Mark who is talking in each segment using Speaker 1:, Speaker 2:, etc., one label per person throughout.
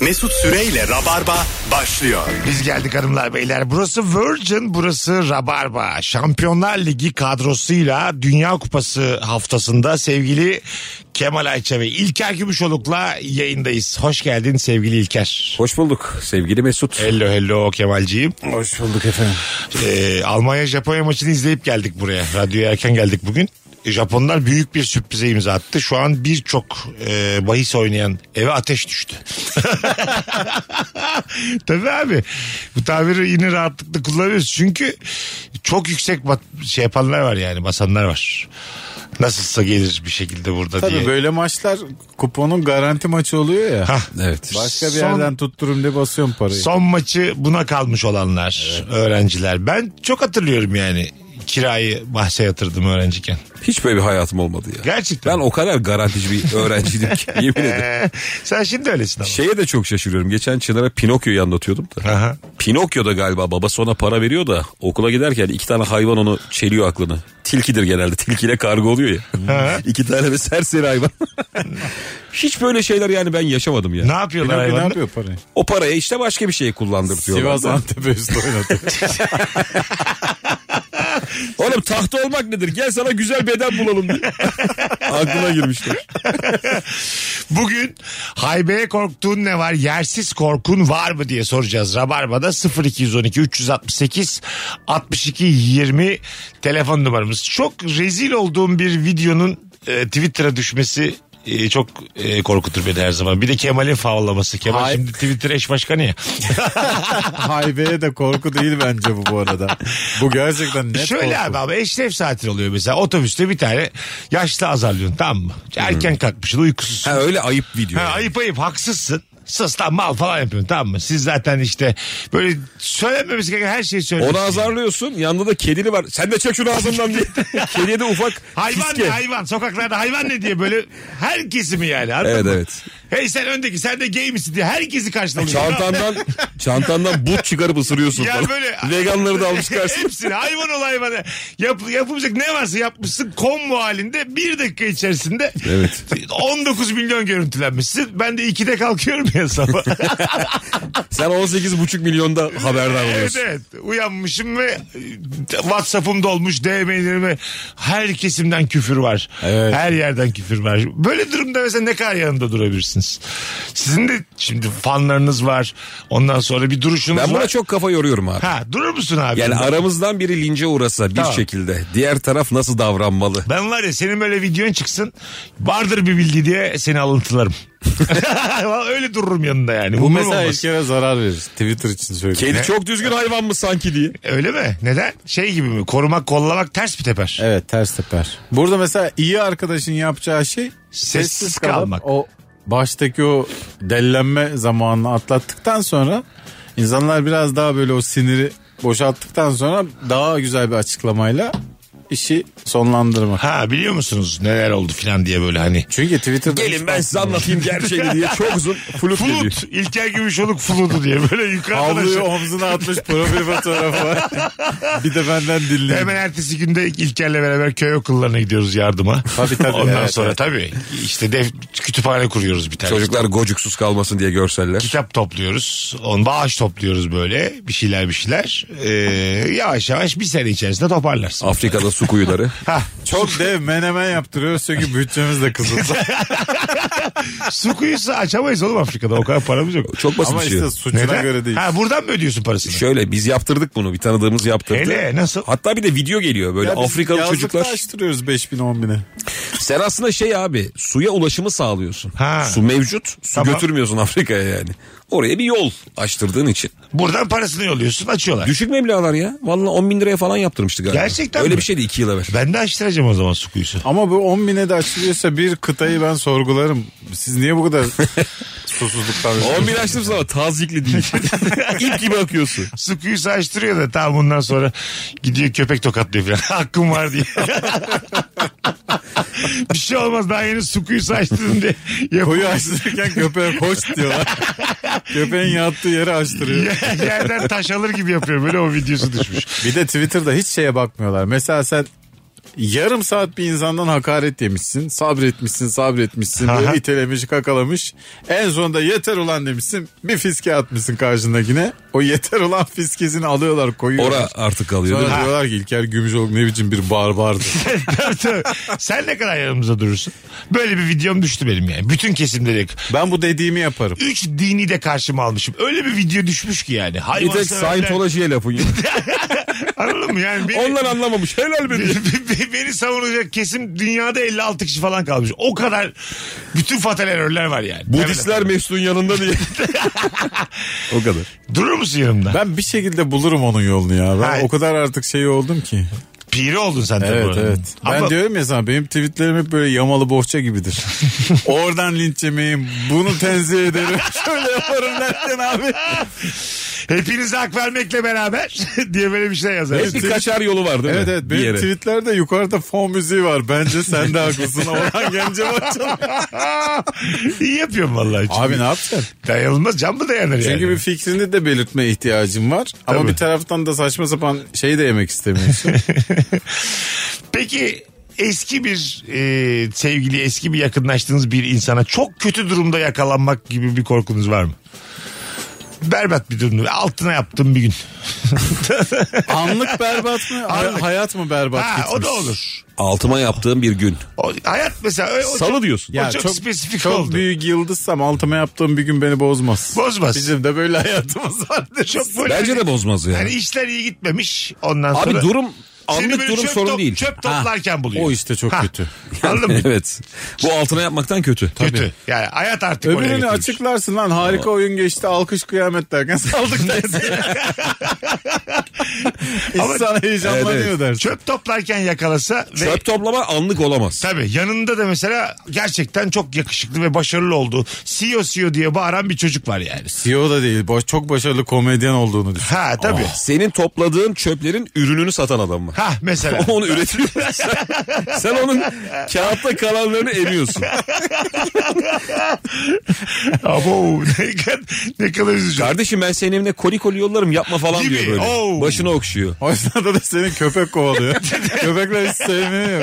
Speaker 1: Mesut Süreyle Rabarba başlıyor.
Speaker 2: Biz geldik hanımlar beyler. Burası Virgin, burası Rabarba. Şampiyonlar Ligi kadrosuyla Dünya Kupası haftasında sevgili Kemal Ayça ve İlker Gümüşoluk'la yayındayız. Hoş geldin sevgili İlker.
Speaker 3: Hoş bulduk sevgili Mesut.
Speaker 2: Hello hello Kemalciğim.
Speaker 3: Hoş bulduk efendim.
Speaker 2: Ee, Almanya Japonya maçını izleyip geldik buraya. Radyoya erken geldik bugün. E, Japonlar büyük bir sürprize imza attı. Şu an birçok e, bahis oynayan eve ateş düştü. Tabii abi. Bu tabiri yine rahatlıkla kullanıyoruz. Çünkü çok yüksek bat, şey yapanlar var yani basanlar var. Nasılsa gelir bir şekilde burada
Speaker 4: Tabii
Speaker 2: diye.
Speaker 4: böyle maçlar kuponun garanti maçı oluyor ya.
Speaker 2: Hah.
Speaker 3: Evet.
Speaker 4: Başka bir
Speaker 2: Son-
Speaker 4: yerden tutturum diye basıyorum parayı.
Speaker 2: Son maçı buna kalmış olanlar, öğrenciler. Ben çok hatırlıyorum yani kirayı bahse yatırdım öğrenciyken.
Speaker 3: Hiç böyle bir hayatım olmadı ya.
Speaker 2: Gerçekten.
Speaker 3: Ben o kadar garantici bir öğrenciydim ki yemin ederim.
Speaker 2: Ee, sen şimdi öylesin ama.
Speaker 3: Şeye de çok şaşırıyorum. Geçen Çınar'a Pinokyo'yu anlatıyordum da.
Speaker 2: Aha.
Speaker 3: Pinokyo'da galiba babası ona para veriyor da okula giderken iki tane hayvan onu çeliyor aklını. Tilkidir genelde. Tilkiyle karga oluyor ya. iki tane de serseri hayvan. Hiç böyle şeyler yani ben yaşamadım ya.
Speaker 2: Ne yapıyorlar
Speaker 4: Abi ne
Speaker 2: hayvanlar?
Speaker 4: yapıyor parayı?
Speaker 3: O parayı işte başka bir şeye kullandırtıyorlar.
Speaker 4: Sivas Antep'e üstü oynadı.
Speaker 3: Oğlum tahta olmak nedir? Gel sana güzel beden bulalım diye. Aklına girmişler.
Speaker 2: Bugün haybeye korktuğun ne var? Yersiz korkun var mı diye soracağız. Rabarba'da 0212 368 62 20 telefon numaramız. Çok rezil olduğum bir videonun e, Twitter'a düşmesi e, çok e, korkutur beni her zaman. Bir de Kemal'in favlaması. Kemal
Speaker 4: Hay-
Speaker 2: şimdi Twitter eş başkanı ya.
Speaker 4: Haybe'ye de korku değil bence bu bu arada. Bu gerçekten net
Speaker 2: Şöyle
Speaker 4: korku.
Speaker 2: abi abi eşref saati oluyor mesela otobüste bir tane yaşlı azarlıyorsun tamam mı? Erken kalkmışsın uykusuzsun.
Speaker 3: Ha öyle ayıp video.
Speaker 2: Hmm. Ha,
Speaker 3: yani.
Speaker 2: ayıp ayıp haksızsın. Sus lan mal falan yapıyorsun tamam mı? Siz zaten işte böyle söylenmemiz gereken her şeyi
Speaker 3: Onu
Speaker 2: söylüyorsunuz.
Speaker 3: azarlıyorsun. Yanında da kedili var. Sen de çek şunu ağzından diye. Kediye de ufak
Speaker 2: Hayvan
Speaker 3: fiske.
Speaker 2: ne hayvan sokaklarda hayvan ne diye böyle herkesi mi yani anladın
Speaker 3: Evet
Speaker 2: mı?
Speaker 3: evet.
Speaker 2: Hey sen öndeki sen de gay misin diye herkesi karşılamıyor.
Speaker 3: Çantandan çantandan but çıkarıp ısırıyorsun
Speaker 2: Ya
Speaker 3: falan.
Speaker 2: böyle-
Speaker 3: Veganları da almış karşısına.
Speaker 2: Hepsini hayvan ol hayvana. Yap, yapılacak ne varsa yapmışsın kombo halinde bir dakika içerisinde
Speaker 3: Evet.
Speaker 2: 19 milyon görüntülenmişsin. Ben de 2'de kalkıyorum ya sabah.
Speaker 3: Sen 18,5 milyonda haberdar
Speaker 2: evet
Speaker 3: oluyorsun.
Speaker 2: evet uyanmışım ve e, Whatsapp'ım dolmuş DM'lerime her kesimden küfür var.
Speaker 4: Evet.
Speaker 2: Her yerden küfür var. Böyle durumda mesela ne kadar yanında durabilirsiniz? Sizin de şimdi fanlarınız var. Ondan sonra bir duruşunuz
Speaker 3: Ben
Speaker 2: var.
Speaker 3: buna çok kafa yoruyorum abi.
Speaker 2: Ha durur musun abi?
Speaker 3: Yani aramızdan biri lince uğrasa bir
Speaker 2: Tamam.
Speaker 3: şekilde diğer taraf nasıl davranmalı?
Speaker 2: Ben var ya senin böyle videon çıksın vardır bir bilgi diye seni alıntılarım. Vallahi Öyle dururum yanında yani.
Speaker 4: Bu
Speaker 2: Umurum
Speaker 4: mesela
Speaker 2: olmaz.
Speaker 4: ilkere zarar verir. Twitter için söylüyorum.
Speaker 3: Kedi çok düzgün hayvan mı sanki diye.
Speaker 2: Öyle mi? Neden? Şey gibi mi? Korumak kollamak ters bir teper.
Speaker 4: Evet ters teper. Burada mesela iyi arkadaşın yapacağı şey
Speaker 2: Sessiz kalmak.
Speaker 4: O baştaki o dellenme zamanını atlattıktan sonra insanlar biraz daha böyle o siniri boşalttıktan sonra daha güzel bir açıklamayla işi sonlandırmak.
Speaker 2: Ha biliyor musunuz neler oldu filan diye böyle hani.
Speaker 4: Çünkü Twitter'da
Speaker 3: Gelin ben size anlatayım gerçeğini diye çok uzun flut geliyor.
Speaker 2: Flut. İlker Gümüşoluk flutu diye böyle yukarıdan
Speaker 4: Havluyu
Speaker 2: aşağı.
Speaker 4: omzuna atmış profil fotoğrafı var. bir de benden dinleyin.
Speaker 2: Hemen ertesi günde İlker'le beraber köy okullarına gidiyoruz yardıma.
Speaker 4: Tabii, tabii.
Speaker 2: Ondan
Speaker 4: Evet,
Speaker 2: sonra
Speaker 4: evet.
Speaker 2: tabii işte def, kütüphane kuruyoruz bir tane.
Speaker 3: Çocuklar gocuksuz kalmasın diye görseller.
Speaker 2: kitap topluyoruz. On bağış topluyoruz böyle. Bir şeyler bir şeyler. Ee, yavaş yavaş bir sene içerisinde toparlarsın.
Speaker 3: Afrika'da su kuyuları.
Speaker 4: Çok dev menemen yaptırıyoruz çünkü bütçemiz de kısıtlı.
Speaker 2: Su kuyusu açamayız oğlum Afrika'da. O kadar paramız yok.
Speaker 3: Çok basit
Speaker 4: Ama
Speaker 3: bir şey.
Speaker 4: işte suçuna göre değil.
Speaker 2: Ha buradan mı ödüyorsun parasını?
Speaker 3: Şöyle biz yaptırdık bunu bir tanıdığımız yaptırdı.
Speaker 2: Hele nasıl?
Speaker 3: Hatta bir de video geliyor böyle
Speaker 4: Ya biz
Speaker 3: Afrikalı
Speaker 4: yazlıkta
Speaker 3: çocuklar.
Speaker 4: açtırıyoruz 5000 10000'e.
Speaker 3: Sen aslında şey abi suya ulaşımı sağlıyorsun.
Speaker 2: Ha.
Speaker 3: Su mevcut su
Speaker 2: Tamam.
Speaker 3: götürmüyorsun Afrika'ya yani. Oraya bir yol açtırdığın için.
Speaker 2: Buradan parasını yolluyorsun açıyorlar.
Speaker 3: Düşük meblağlar ya. Vallahi 10 bin liraya falan yaptırmıştı galiba.
Speaker 2: Gerçekten
Speaker 3: Öyle
Speaker 2: mi?
Speaker 3: bir şeydi 2 yıl evvel.
Speaker 2: Ben de açtıracağım o zaman su kuyusu.
Speaker 4: Ama bu 10 bine de açılıyorsa bir kıtayı ben sorgularım. Siz niye bu kadar susuzluktan
Speaker 3: 10 bin açtım sana tazikli değil. İp gibi akıyorsun.
Speaker 2: Su kuyusu açtırıyor da tamam bundan sonra gidiyor köpek tokatlıyor falan. Hakkım var diye. bir şey olmaz daha yeni su kuyusu açtın diye. Yap-
Speaker 4: Koyu açtırırken köpeğe koç diyorlar. Köpeğin yattığı yeri açtırıyor.
Speaker 2: Yerden taş alır gibi yapıyor. Böyle o videosu düşmüş.
Speaker 4: Bir de Twitter'da hiç şeye bakmıyorlar. Mesela sen yarım saat bir insandan hakaret yemişsin. Sabretmişsin, sabretmişsin.
Speaker 2: Aha.
Speaker 4: Böyle itelemiş, kakalamış. En sonunda yeter ulan demişsin. Bir fiske atmışsın karşındakine. O yeter ulan fiskesini alıyorlar, koyuyorlar.
Speaker 3: Ora artık kalıyor değil mi?
Speaker 4: Sonra diyorlar ki İlker Gümüşoluk ne biçim bir barbardı.
Speaker 2: Tabii, tabii. Sen ne kadar yanımıza durursun? Böyle bir videom düştü benim yani. Bütün kesimleri.
Speaker 4: ben bu dediğimi yaparım.
Speaker 2: Üç dini de karşıma almışım. Öyle bir video düşmüş ki yani.
Speaker 3: Bir
Speaker 2: Hayvan
Speaker 3: tek Scientology'ye lafın yok.
Speaker 2: Anladın mı yani? Beni,
Speaker 3: Onlar anlamamış. Helal be diye.
Speaker 2: beni, savunacak kesim dünyada 56 kişi falan kalmış. O kadar bütün fatal erörler var yani.
Speaker 3: Budistler Mesut'un yanında diye. o kadar.
Speaker 2: Durur musun yanımda?
Speaker 4: Ben bir şekilde bulurum onun yolunu ya. Ben
Speaker 2: Hayır.
Speaker 4: o kadar artık şey oldum ki.
Speaker 2: Piri oldun sen de bu
Speaker 4: Evet
Speaker 2: arada.
Speaker 4: evet. Ben
Speaker 2: Ama
Speaker 4: diyorum ya sana benim tweetlerim hep böyle yamalı bohça gibidir. Oradan linç yemeyim. Bunu tenzih ederim. Şöyle yaparım derken abi.
Speaker 2: hepinize hak vermekle beraber diye böyle bir şey yazar.
Speaker 3: Hep bir kaçar yolu var değil mi?
Speaker 4: Evet evet.
Speaker 3: Bir
Speaker 4: Benim
Speaker 3: yere.
Speaker 4: tweetlerde yukarıda fon müziği var. Bence sen de haklısın. Orhan Gencebay çalıyor.
Speaker 2: İyi yapıyorum vallahi. Çünkü
Speaker 4: Abi ne yapacaksın?
Speaker 2: Dayanılmaz cam mı dayanır yani?
Speaker 4: Çünkü bir fikrini de belirtme ihtiyacın var.
Speaker 2: Tabii.
Speaker 4: Ama bir taraftan da saçma sapan şeyi de yemek istemiyorsun.
Speaker 2: Peki eski bir e, sevgili, eski bir yakınlaştığınız bir insana çok kötü durumda yakalanmak gibi bir korkunuz var mı? Berbat bir durumda. Altına yaptım bir gün.
Speaker 4: Anlık berbat mı? Hay-
Speaker 2: Anlık.
Speaker 4: Hayat mı berbat
Speaker 2: ha,
Speaker 4: gitmiş?
Speaker 2: o da olur.
Speaker 3: Altıma yaptığım bir gün.
Speaker 2: O, hayat mesela. ö- O,
Speaker 3: Salı diyorsun.
Speaker 2: çok spesifik
Speaker 4: çok
Speaker 2: oldu.
Speaker 4: büyük yıldızsam altıma yaptığım bir gün beni bozmaz.
Speaker 2: Bozmaz.
Speaker 4: Bizim de böyle hayatımız vardır.
Speaker 2: çok böyle.
Speaker 3: Bence de bozmaz yani.
Speaker 2: Yani işler iyi gitmemiş ondan
Speaker 3: Abi
Speaker 2: sonra.
Speaker 3: durum
Speaker 2: Seni
Speaker 3: anlık
Speaker 2: böyle
Speaker 3: durum
Speaker 2: çöp
Speaker 3: sorun
Speaker 2: top-
Speaker 3: değil.
Speaker 2: Çöp toplarken buluyor.
Speaker 4: O işte çok
Speaker 2: Ha.
Speaker 4: kötü.
Speaker 2: Anladın mı?
Speaker 3: evet. Bu altına yapmaktan kötü.
Speaker 2: Kötü. Yani hayat artık oraya
Speaker 4: Öbürünü
Speaker 2: götürmüş.
Speaker 4: açıklarsın lan harika oyun geçti alkış kıyamet derken saldık dersin.
Speaker 2: Ama-
Speaker 4: İnsan heyecanlanıyor
Speaker 3: Evet, evet.
Speaker 4: dersin.
Speaker 2: Çöp toplarken yakalasa ve
Speaker 3: Çöp toplama anlık olamaz.
Speaker 2: Tabii yanında da mesela gerçekten çok yakışıklı ve başarılı E oldu. CEO CEO diye bağıran bir çocuk var yani.
Speaker 3: E
Speaker 4: CEO da değil boş- çok başarılı komedyen olduğunu düşün.
Speaker 2: Ha tabii.
Speaker 3: Senin topladığın çöplerin ürününü satan adam var.
Speaker 2: Ha mesela.
Speaker 3: Onu üretiyor. sen, sen onun kağıtta kalanlarını emiyorsun.
Speaker 2: Abo ne kadar, ne kadar üzücü.
Speaker 3: Kardeşim ben senin evine koli koli yollarım yapma falan
Speaker 2: Gibi.
Speaker 3: diyor böyle.
Speaker 2: Oo.
Speaker 3: Başına okşuyor.
Speaker 4: O yüzden de senin köpek kovalıyor. Köpekler hiç sevmiyor.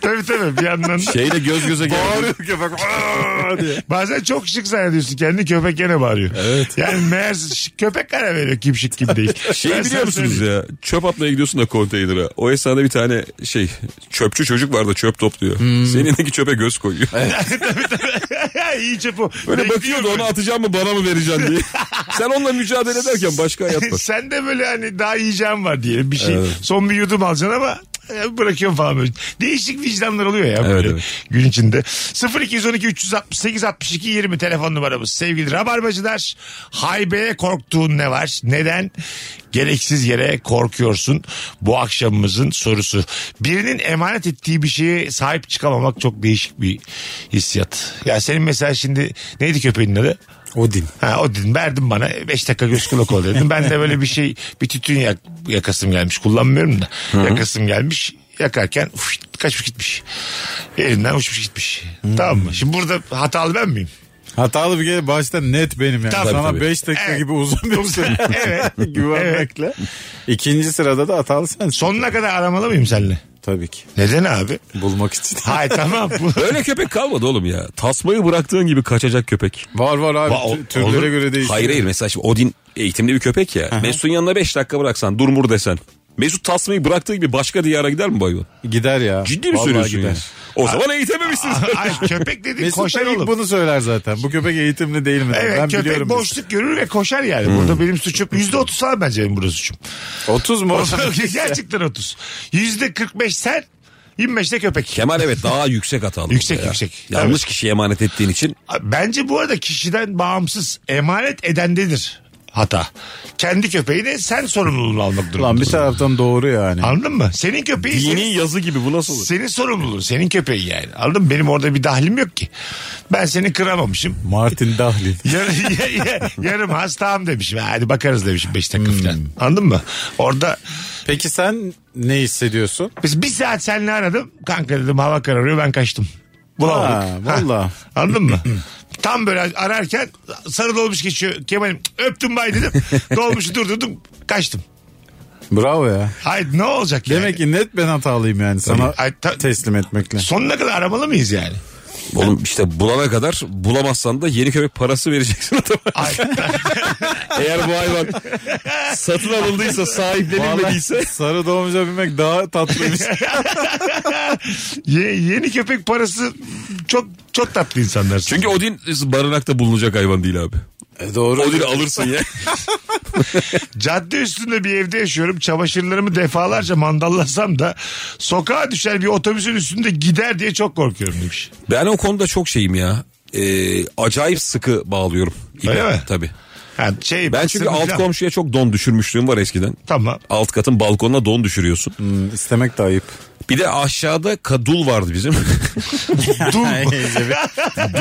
Speaker 2: tabii tabii bir yandan. da-
Speaker 3: Şeyle göz göze geldi.
Speaker 4: Bağırıyor köpek. "Aa!" diye.
Speaker 2: Bazen çok şık zannediyorsun kendini köpek gene bağırıyor. Evet. Yani meğer şık- köpek karar veriyor kim şık kim değil. Ben
Speaker 3: Şey
Speaker 2: sana
Speaker 3: biliyor musunuz
Speaker 2: söyleyeyim.
Speaker 3: ya çöp atmaya gidiyorsun da konteynere. O esnada bir tane şey çöpçü çocuk var da çöp topluyor.
Speaker 2: Hmm.
Speaker 3: Seninki çöpe göz koyuyor.
Speaker 2: İyi çöp o.
Speaker 3: Böyle
Speaker 2: Bekliyor
Speaker 3: bakıyor da onu atacağım mı bana mı vereceksin diye. Sen onunla mücadele ederken başka hayat var.
Speaker 2: Sen de böyle hani daha yiyeceğim var diye bir şey. Son bir yudum alacaksın ama e, bırakıyorum falan böyle. Değişik vicdanlar oluyor ya böyle
Speaker 3: Evet, evet.
Speaker 2: gün içinde. 0212 368 62 20 telefon numaramız. Sevgili Rabarbacılar haybeye korktuğun ne var? Neden gereksiz yere korkuyorsun? Bu akşamımızın sorusu. Birinin emanet ettiği bir şeye sahip çıkamamak çok değişik bir hissiyat. Ya senin mesela şimdi neydi köpeğin adı?
Speaker 4: Odin.
Speaker 2: Ha o dedim verdim bana 5 dakika göz kulak ol dedim. Ben de böyle bir şey bir tütün yak, yakasım gelmiş kullanmıyorum da yakasım gelmiş yakarken uf, kaçmış gitmiş. Elimden uçmuş gitmiş. Tamam mı? Şimdi burada hatalı ben miyim?
Speaker 4: Hatalı bir kere başta net benim yani.
Speaker 2: Tabii,
Speaker 4: Sana
Speaker 3: tabii.
Speaker 4: 5 dakika
Speaker 2: Evet.
Speaker 4: gibi uzun bir süre
Speaker 2: Evet.
Speaker 4: güvenmekle. İkinci sırada da hatalı sensin.
Speaker 2: Sonuna kadar aramalı mıyım seninle?
Speaker 4: Tabii ki.
Speaker 2: Neden abi?
Speaker 4: Bulmak için.
Speaker 2: Hayır tamam. Bu-
Speaker 3: Öyle köpek kalmadı oğlum ya. Tasmayı bıraktığın gibi kaçacak köpek.
Speaker 4: Var var abi.
Speaker 2: Va- o-
Speaker 4: Tü- Türlere
Speaker 2: olur.
Speaker 4: göre değişiyor.
Speaker 3: Hayır hayır mesela şimdi Odin eğitimli bir köpek ya. Mesut'un yanına 5 dakika bıraksan durmur desen. Mesut tasmayı bıraktığı gibi başka diyara gider mi bu hayvan?
Speaker 4: Gider ya.
Speaker 3: Ciddi mi
Speaker 4: Vallahi
Speaker 3: söylüyorsun
Speaker 4: gider.
Speaker 3: ya? O zaman eğitememişsiniz.
Speaker 2: Ay köpek dediğin
Speaker 4: Mesut
Speaker 2: koşar
Speaker 4: da ilk
Speaker 2: oğlum.
Speaker 4: bunu söyler zaten. Bu köpek eğitimli değil mi? der.
Speaker 2: Evet
Speaker 4: ben
Speaker 2: köpek
Speaker 4: biliyorum.
Speaker 2: boşluk görür ve koşar yani. Burada benim suçum yüzde otuz falan bence benim burada suçum.
Speaker 4: 30 mu?
Speaker 2: Gerçekten otuz. Yüzde kırk beş sen yirmi beşte köpek.
Speaker 3: Kemal evet daha yüksek hatalı.
Speaker 2: Yüksek,
Speaker 3: burada
Speaker 2: yüksek.
Speaker 3: Yanlış kişiye emanet ettiğin için
Speaker 2: Bence bu arada kişiden bağımsız emanet edendedir hata. Kendi köpeğini sen sorumluluğunu almak durumundasın.
Speaker 4: Lan bir taraftan doğru yani.
Speaker 2: Anladın mı? Senin köpeği
Speaker 3: Dini yazı gibi bu nasıl olur?
Speaker 2: senin sorumluluğun, senin köpeğin yani. Anladın mı? Benim orada bir dahlim yok ki. Ben seni kıramamışım.
Speaker 4: Martin Dahlin.
Speaker 2: Yar, ya- ya- yarım hastam demişim. Hadi bakarız demişim 5 dakika falan. Anladın mı? Orada
Speaker 4: Peki sen ne hissediyorsun?
Speaker 2: biz bir saat seninle aradım. Kanka dedim hava kararıyor ben kaçtım. Bulamadık.
Speaker 4: Ha, vallahi.
Speaker 2: Hah, Anladın mı? Tam böyle ararken sarı dolmuş geçiyor. Kemal'im öptüm bay dedim. Dolmuşu durdurdum kaçtım.
Speaker 4: Bravo ya.
Speaker 2: Hayır ne olacak yani?
Speaker 4: Demek ki net ben hatalıyım yani sana
Speaker 2: Ay, ta-
Speaker 4: teslim etmekle.
Speaker 2: Sonuna kadar aramalı mıyız yani?
Speaker 3: Oğlum işte bulana kadar bulamazsan da yeni köpek parası vereceksin adama.
Speaker 2: Ay,
Speaker 3: Eğer bu hayvan satın alındıysa sahiplenilmediyse.
Speaker 4: Sarı domuza binmek daha tatlıymış.
Speaker 2: ye- yeni köpek parası çok çok tatlı insanlar.
Speaker 3: Çünkü Odin barınakta bulunacak hayvan değil abi.
Speaker 2: E,
Speaker 4: doğru.
Speaker 3: Odin'i alırsın ya.
Speaker 2: Cadde üstünde bir evde yaşıyorum. Çamaşırlarımı defalarca mandallasam da sokağa düşer bir otobüsün üstünde gider diye çok korkuyorum demiş.
Speaker 3: Ben o konuda çok şeyim ya. Ee, acayip sıkı bağlıyorum. ipe.
Speaker 2: Öyle mi?
Speaker 3: Tabii.
Speaker 2: Ha, şey,
Speaker 3: Ben çünkü
Speaker 2: sırf
Speaker 3: alt
Speaker 2: falan-
Speaker 3: komşuya çok don düşürmüşlüğüm var eskiden.
Speaker 2: Tamam.
Speaker 3: Alt katın balkonuna don düşürüyorsun.
Speaker 4: İstemek de ayıp.
Speaker 3: Bir de aşağıda kadul vardı bizim.
Speaker 2: Dul.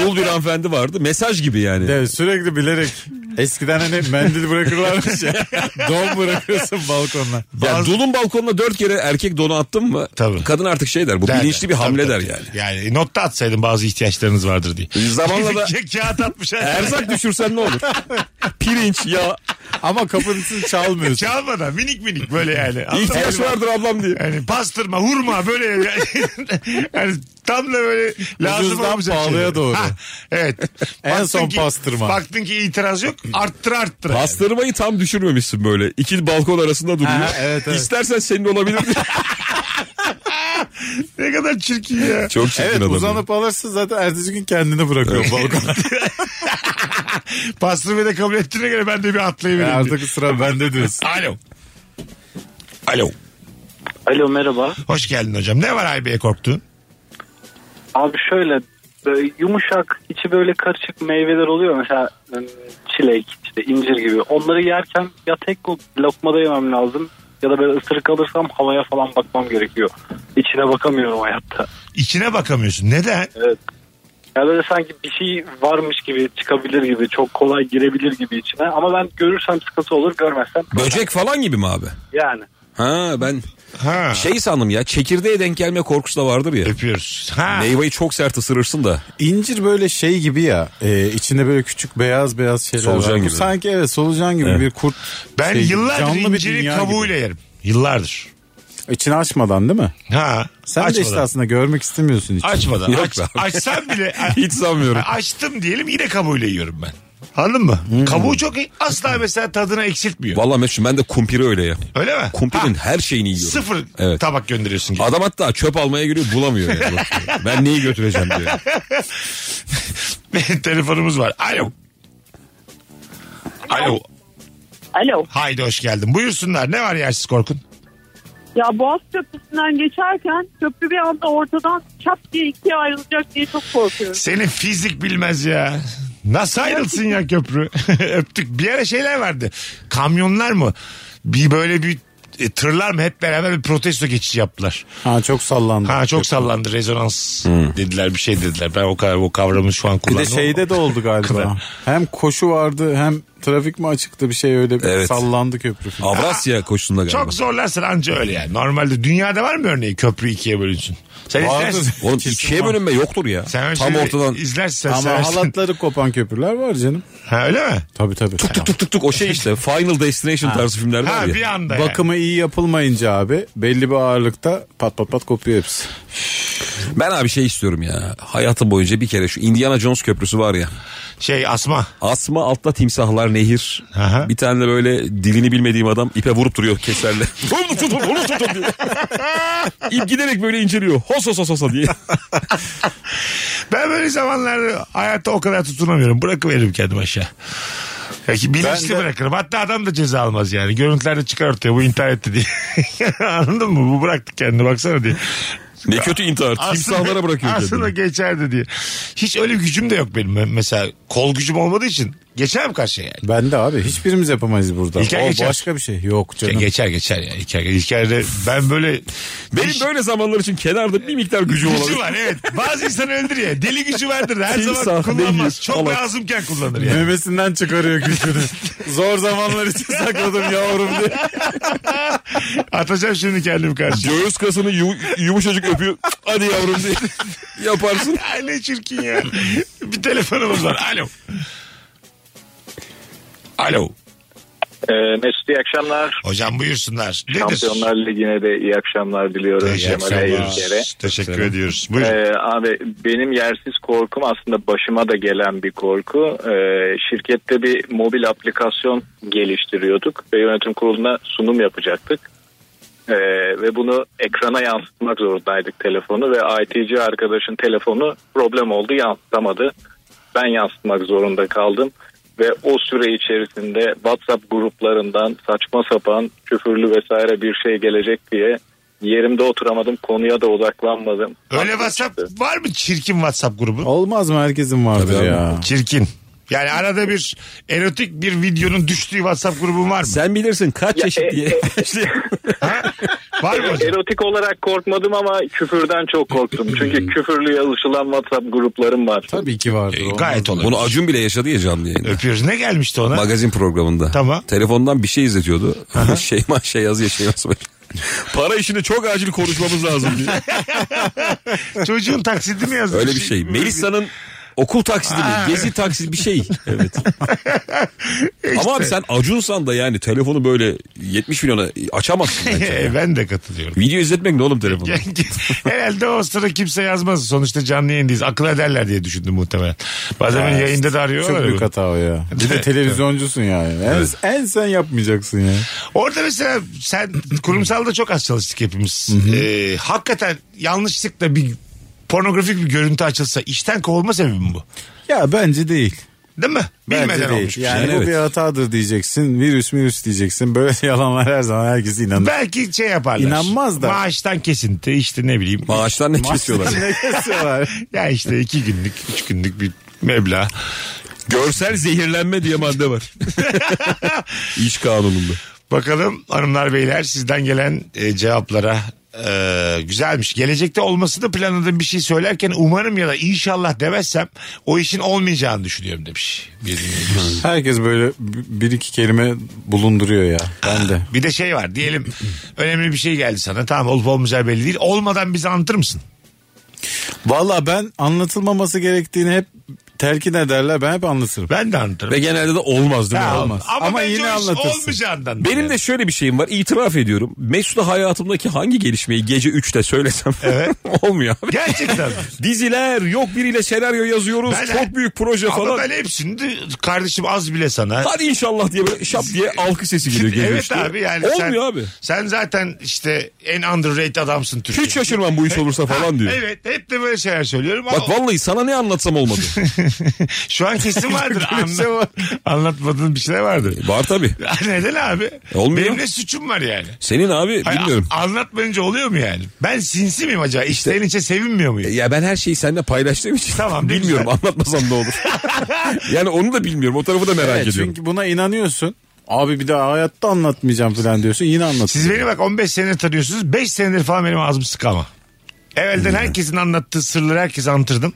Speaker 3: dul bir hanımefendi vardı. Mesaj gibi yani.
Speaker 4: Ya sürekli bilerek eskiden hani mendil bırakırlarmış ya. Don bırakıyorsun balkonla.
Speaker 3: Ya
Speaker 2: Bazı-
Speaker 3: Dul'un balkonuna dört kere erkek donu attın mı?
Speaker 2: Tabii.
Speaker 3: Kadın artık şey der. Bu
Speaker 2: Der,
Speaker 3: bilinçli bir
Speaker 2: tabii,
Speaker 3: hamle
Speaker 2: tabii.
Speaker 3: der yani. E,
Speaker 2: Yani e, notta atsaydım bazı ihtiyaçlarınız vardır diye.
Speaker 3: Zamanla da-
Speaker 2: Ka- Kağıt atmış.
Speaker 3: Erzak düşürsen ne olur? Pirinç, ya
Speaker 4: Ama kapısını çalmıyorsun.
Speaker 2: Çalmadan minik minik böyle yani. Anladın
Speaker 3: ihtiyaç
Speaker 2: mı?
Speaker 3: vardır ablam diye.
Speaker 2: Yani pastırma, hurma böyle yani, yani tam da böyle lazım
Speaker 4: Ucuzdan
Speaker 2: olacak
Speaker 4: pahalıya
Speaker 2: şeyler.
Speaker 4: doğru.
Speaker 2: evet.
Speaker 4: En
Speaker 2: Baktın
Speaker 4: son pastırma.
Speaker 2: Baktın ki itiraz yok arttır arttır.
Speaker 3: Pastırmayı tam düşürmemişsin böyle. İki balkon arasında duruyor.
Speaker 4: Ha, evet, evet.
Speaker 3: İstersen senin olabilir.
Speaker 2: Ne kadar çirkin ya.
Speaker 3: Çok çirkin
Speaker 4: Evet
Speaker 3: adam. şey ya.
Speaker 4: uzanıp alırsın zaten ertesi gün kendini bırakıyor balkona.
Speaker 2: Pastırmayı da kabul ettiğine göre ben de bir
Speaker 4: Ya
Speaker 2: atlayıvereyim. diye.
Speaker 4: Artık sıra bende diyorsun.
Speaker 2: Alo.
Speaker 3: Alo.
Speaker 5: Alo merhaba.
Speaker 2: Hoş geldin hocam. Ne var Aybe'ye korktuğun?
Speaker 5: Abi şöyle böyle yumuşak içi böyle karışık meyveler oluyor mesela ım, çilek işte incir gibi. Onları yerken ya tek lokmada yemem lazım ya da böyle ısırık alırsam havaya falan bakmam gerekiyor. İçine bakamıyorum hayatta.
Speaker 2: İçine bakamıyorsun. Neden?
Speaker 5: Evet. Ya böyle sanki bir şey varmış gibi çıkabilir gibi çok kolay girebilir gibi içine ama ben görürsem sıkıntı olur görmezsem
Speaker 3: Böcek falan gibi mi abi?
Speaker 5: yani.
Speaker 3: Ha ben
Speaker 2: Ha.
Speaker 3: şey sandım ya çekirdeğe denk gelme korkusu da vardır ya.
Speaker 2: Öpüyoruz. Ha.
Speaker 3: Meyveyi çok sert ısırırsın da.
Speaker 4: İncir böyle şey gibi ya e, içinde böyle küçük beyaz beyaz şeyler
Speaker 3: Solucan
Speaker 4: var. Bu
Speaker 3: gibi.
Speaker 4: Sanki evet solucan gibi bir kurt.
Speaker 2: Ben
Speaker 4: şey,
Speaker 2: yıllardır
Speaker 4: canlı bir
Speaker 2: inciri
Speaker 4: dünya
Speaker 2: kabuğuyla
Speaker 4: gibi.
Speaker 2: yerim. Yıllardır.
Speaker 4: İçini açmadan değil mi?
Speaker 2: Ha.
Speaker 4: Sen de işte aslında görmek istemiyorsun hiç.
Speaker 2: Açmadan.
Speaker 3: Yok
Speaker 2: Aç,
Speaker 3: be abi.
Speaker 2: açsam bile
Speaker 3: Hiç sanmıyorum.
Speaker 2: açtım diyelim yine kabuğuyla yiyorum ben. Anladın mı?
Speaker 4: Hmm.
Speaker 2: Kabuğu çok iyi. Asla mesela tadını eksiltmiyor.
Speaker 3: Vallahi Mesut ben de kumpiri öyle ya.
Speaker 2: Öyle mi?
Speaker 3: Kumpirin
Speaker 2: Ha,
Speaker 3: her şeyini yiyorum.
Speaker 2: Sıfır
Speaker 3: Evet.
Speaker 2: tabak gönderiyorsun. gibi.
Speaker 3: Adam hatta çöp almaya giriyor bulamıyor. Yani. ben neyi götüreceğim diyor.
Speaker 2: Telefonumuz var. Alo. Alo.
Speaker 6: Alo.
Speaker 2: Haydi hoş geldin. Buyursunlar. Ne var yersiz korkun?
Speaker 6: Ya Boğaz Köprüsü'nden geçerken köprü bir anda ortadan çat diye ikiye ayrılacak diye çok korkuyorum.
Speaker 2: Senin fizik bilmez ya. Nasıl ayrılsın ya köprü? Öptük. Bir ara şeyler vardı. Kamyonlar mı? Bir böyle bir e, tırlar mı hep beraber bir protesto geçişi yaptılar.
Speaker 4: Ha çok sallandı.
Speaker 2: Ha çok sallandı rezonans dediler bir şey dediler. Ben o kadar o kavramı şu an
Speaker 4: Hmm. Bir
Speaker 2: kullandım.
Speaker 4: de şeyde de oldu galiba.
Speaker 2: Kıvır.
Speaker 4: hem koşu vardı hem trafik mi açıktı bir şey öyle bir
Speaker 3: Evet.
Speaker 4: sallandı köprü. falan.
Speaker 3: Avrasya koşusunda galiba.
Speaker 2: Çok zorlarsın anca öyle yani. Normalde dünyada var mı örneği köprü ikiye bölünsün? Sen
Speaker 4: Vardır.
Speaker 2: izlersin.
Speaker 3: Oğlum
Speaker 4: Kesin
Speaker 3: ikiye
Speaker 4: var.
Speaker 3: bölünme yoktur ya.
Speaker 2: Sen öyle şey
Speaker 3: Tam
Speaker 2: şeyleri
Speaker 3: ortadan
Speaker 2: izlersin.
Speaker 4: Ama
Speaker 2: seversin.
Speaker 4: halatları kopan köprüler var canım.
Speaker 2: Ha, öyle mi?
Speaker 4: Tabii tabii.
Speaker 3: tuk tuk tuk tuk o şey işte Final Destination tarzı filmler
Speaker 2: Ha
Speaker 3: var
Speaker 2: bir
Speaker 3: ya.
Speaker 2: anda yani.
Speaker 4: Bakımı iyi yapılmayınca abi belli bir ağırlıkta pat pat pat kopuyor hepsi.
Speaker 3: Ben abi şey istiyorum ya. Hayatım boyunca bir kere şu Indiana Jones köprüsü var ya.
Speaker 2: Şey asma.
Speaker 3: Asma altta timsahlar nehir.
Speaker 2: Aha.
Speaker 3: Bir tane de böyle dilini bilmediğim adam ipe vurup duruyor keserle. Vurup tut, tut, vurup tut, tut diyor. İp giderek böyle inceliyor. Hos hos hos hos diye.
Speaker 2: Ben böyle zamanlarda hayatta o kadar tutunamıyorum. Bırakıveririm kendimi aşağı. Peki bilinçli
Speaker 4: Ben de-
Speaker 2: bırakırım. Hatta adam da ceza almaz yani. Görüntülerde çıkar ortaya bu intihar etti diye. Anladın mı? Bu bıraktık kendini baksana diye.
Speaker 3: ne kötü intihar.
Speaker 2: Aslında-
Speaker 3: Timsahlara bırakıyor
Speaker 2: Aslında
Speaker 3: kendini.
Speaker 2: geçerdi diye. Hiç öyle bir gücüm de yok benim. Ben Mesela kol gücüm olmadığı için Geçer mi karşıya yani?
Speaker 4: Ben de abi hiçbirimiz yapamayız burada.
Speaker 2: İlker
Speaker 4: o
Speaker 2: geçer.
Speaker 4: başka bir şey. Yok canım.
Speaker 2: Geçer geçer yani. İlker, İlker de ben böyle...
Speaker 3: Benim böyle zamanlar için kenarda bir miktar gücü
Speaker 2: Gücü
Speaker 3: olabilir.
Speaker 2: var evet. Bazı insan öldür ya. Deli gücü vardır. Her zaman
Speaker 3: Timsah,
Speaker 2: kullanmaz.
Speaker 3: nehir,
Speaker 2: Çok
Speaker 3: falan.
Speaker 2: lazımken kullanır yani.
Speaker 4: Memesinden çıkarıyor gücünü. Zor zamanlar için sakladım yavrum diye.
Speaker 2: Atacağım şimdi kendimi karşıya.
Speaker 3: Göğüs kasını yu- yumuşacık öpüyor. Hadi yavrum diye. Yaparsın.
Speaker 2: Ay ne çirkin ya. Bir telefonumuz var. Alo. Alo.
Speaker 5: E,
Speaker 7: Ee, Mesut iyi akşamlar.
Speaker 2: Hocam buyursunlar. Nedir?
Speaker 7: Şampiyonlar Ligi'ne de iyi akşamlar diliyorum. Cemal'e Yüzger'e.
Speaker 2: Teşekkür, Teşekkür ediyoruz. Buyurun.
Speaker 7: Ee, abi benim yersiz korkum aslında başıma da gelen bir korku. Ee, şirkette bir mobil aplikasyon geliştiriyorduk ve yönetim kuruluna sunum yapacaktık. Ee, ve bunu ekrana yansıtmak zorundaydık telefonu ve ITC arkadaşın telefonu problem oldu yansıtamadı. Ben yansıtmak zorunda kaldım ve o süre içerisinde WhatsApp gruplarından saçma sapan küfürlü vesaire bir şey gelecek diye yerimde oturamadım konuya da odaklanmadım.
Speaker 2: Öyle WhatsApp var mı çirkin WhatsApp grubu?
Speaker 4: Olmaz mı herkesin vardır ya.
Speaker 2: Çirkin. Yani arada bir erotik bir videonun düştüğü WhatsApp grubun var mı?
Speaker 3: Sen bilirsin kaç çeşit diye.
Speaker 2: Var mı hocam?
Speaker 7: Erotik olarak korkmadım ama küfürden çok korktum.
Speaker 2: Hmm.
Speaker 7: Çünkü küfürlü yazışılan WhatsApp gruplarım var.
Speaker 4: Tabii ki vardır. o.
Speaker 2: E, Gayet olur.
Speaker 3: Bunu Acun bile yaşadı ya canlı yayında.
Speaker 2: Öpüyoruz. Ne gelmişti ona?
Speaker 3: Magazin programında.
Speaker 2: Tamam.
Speaker 3: Telefondan bir şey izletiyordu. Şeyma şey yazıyor Şeyma Soylu. Para işini çok acil konuşmamız lazım diye.
Speaker 2: Çocuğun taksidi mi yazdı?
Speaker 3: Öyle bir şey. Melisa'nın okul taksidi mi?
Speaker 2: Aa,
Speaker 3: Gezi taksidi bir şey. Evet. Ama abi sen Acunsan da yani telefonu böyle 70 milyona açamazsın. bence.
Speaker 2: Ee, ben de katılıyorum.
Speaker 3: Video izletmek ne oğlum telefonu?
Speaker 2: Herhalde o sıra kimse yazmaz. Sonuçta canlı yayındayız. Akıl ederler diye düşündüm muhtemelen. Bazen beni yayında da arıyorlar.
Speaker 4: Çok
Speaker 2: ya.
Speaker 4: büyük hata o ya. Bir de
Speaker 2: Evet,
Speaker 4: televizyoncusun yani. En, en sen yapmayacaksın ya.
Speaker 2: Orada mesela sen kurumsalda çok az çalıştık hepimiz. Ee, hakikaten yanlışlıkla bir pornografik bir görüntü açılsa işten kovulma sebebi mi bu?
Speaker 4: Ya bence değil.
Speaker 2: Değil mi?
Speaker 4: Bence
Speaker 2: Bilmeden
Speaker 4: değil.
Speaker 2: olmuş bir
Speaker 4: Yani
Speaker 2: şey.
Speaker 4: bu
Speaker 3: Evet.
Speaker 4: bir hatadır diyeceksin. Virüs virüs diyeceksin. Böyle yalanlar her zaman herkes inanır.
Speaker 2: Belki şey yaparlar.
Speaker 4: İnanmaz da.
Speaker 2: Maaştan kesinti işte ne bileyim.
Speaker 3: Maaşlar ne kesiyorlar?
Speaker 4: ne kesiyorlar?
Speaker 2: ya işte iki günlük, üç günlük bir meblağ.
Speaker 3: Görsel zehirlenme diye madde var. İş kanununda.
Speaker 2: Bakalım hanımlar beyler sizden gelen e, cevaplara Ee, güzelmiş. Gelecekte olmasını planladığım bir şey söylerken umarım ya da inşallah demezsem o işin olmayacağını düşünüyorum demiş. Bir, dinleyicimiz.
Speaker 4: Herkes böyle b- bir iki kelime bulunduruyor ya. Ben de.
Speaker 2: bir de şey var diyelim önemli bir şey geldi sana tamam olup olmayacağı belli değil olmadan bizi anlatır mısın?
Speaker 4: Valla ben anlatılmaması gerektiğini hep telkin ederler. Ben hep anlatırım.
Speaker 2: Ben de anlatırım.
Speaker 3: Ve genelde de olmaz değil mi?
Speaker 2: Ha,
Speaker 4: olmaz.
Speaker 2: Ama,
Speaker 4: Ama
Speaker 2: yine
Speaker 4: yine anlatırsın.
Speaker 2: Olmayacağından.
Speaker 3: Benim de şöyle bir şeyim var. İtiraf ediyorum. Mesut'a hayatımdaki hangi gelişmeyi gece 3'te söylesem olmuyor abi.
Speaker 2: Gerçekten.
Speaker 3: Diziler yok biriyle senaryo yazıyoruz.
Speaker 2: Ben-
Speaker 3: çok büyük proje
Speaker 2: Ama
Speaker 3: falan.
Speaker 2: ben hepsini de- kardeşim az bile sana.
Speaker 3: Hadi inşallah diye böyle şap diye alkı sesi geliyor gece
Speaker 2: evet
Speaker 3: üçte.
Speaker 2: abi yani
Speaker 3: Olmuyor
Speaker 2: sen,
Speaker 3: abi.
Speaker 2: Sen zaten işte en underrated adamsın Türkiye'de.
Speaker 3: Hiç şaşırmam bu iş olursa falan diyor.
Speaker 2: Evet hep de böyle şeyler söylüyorum ama
Speaker 3: Bak vallahi sana ne anlatsam olmadı.
Speaker 2: şu an kesin vardır. Anla, anlatmadığın bir şeyler vardır.
Speaker 3: E, Var tabii.
Speaker 2: Neden abi?
Speaker 3: E, Olmuyor.
Speaker 2: Benim ne suçum var yani?
Speaker 3: Senin abi
Speaker 2: Hayır,
Speaker 3: bilmiyorum.
Speaker 2: a- anlatmayınca oluyor mu yani? Ben sinsi miyim acaba? İşten içe sevinmiyor muyum?
Speaker 3: Ya ben her şeyi seninle paylaştığım için
Speaker 2: Tamam, ne
Speaker 3: bilmiyorum
Speaker 2: güzel.
Speaker 3: anlatmasam ne olur. yani onu da bilmiyorum. O tarafı da merak
Speaker 4: Evet,
Speaker 3: ediyorum.
Speaker 4: çünkü buna inanıyorsun. Abi bir daha hayatta anlatmayacağım falan diyorsun. Yine anlatıyorsun.
Speaker 2: Siz beni bak 15 senedir tanıyorsunuz. 5 senedir falan benim ağzım sık ama. Evvelden
Speaker 3: Hmm.
Speaker 2: herkesin anlattığı sırları herkese anlatırdım.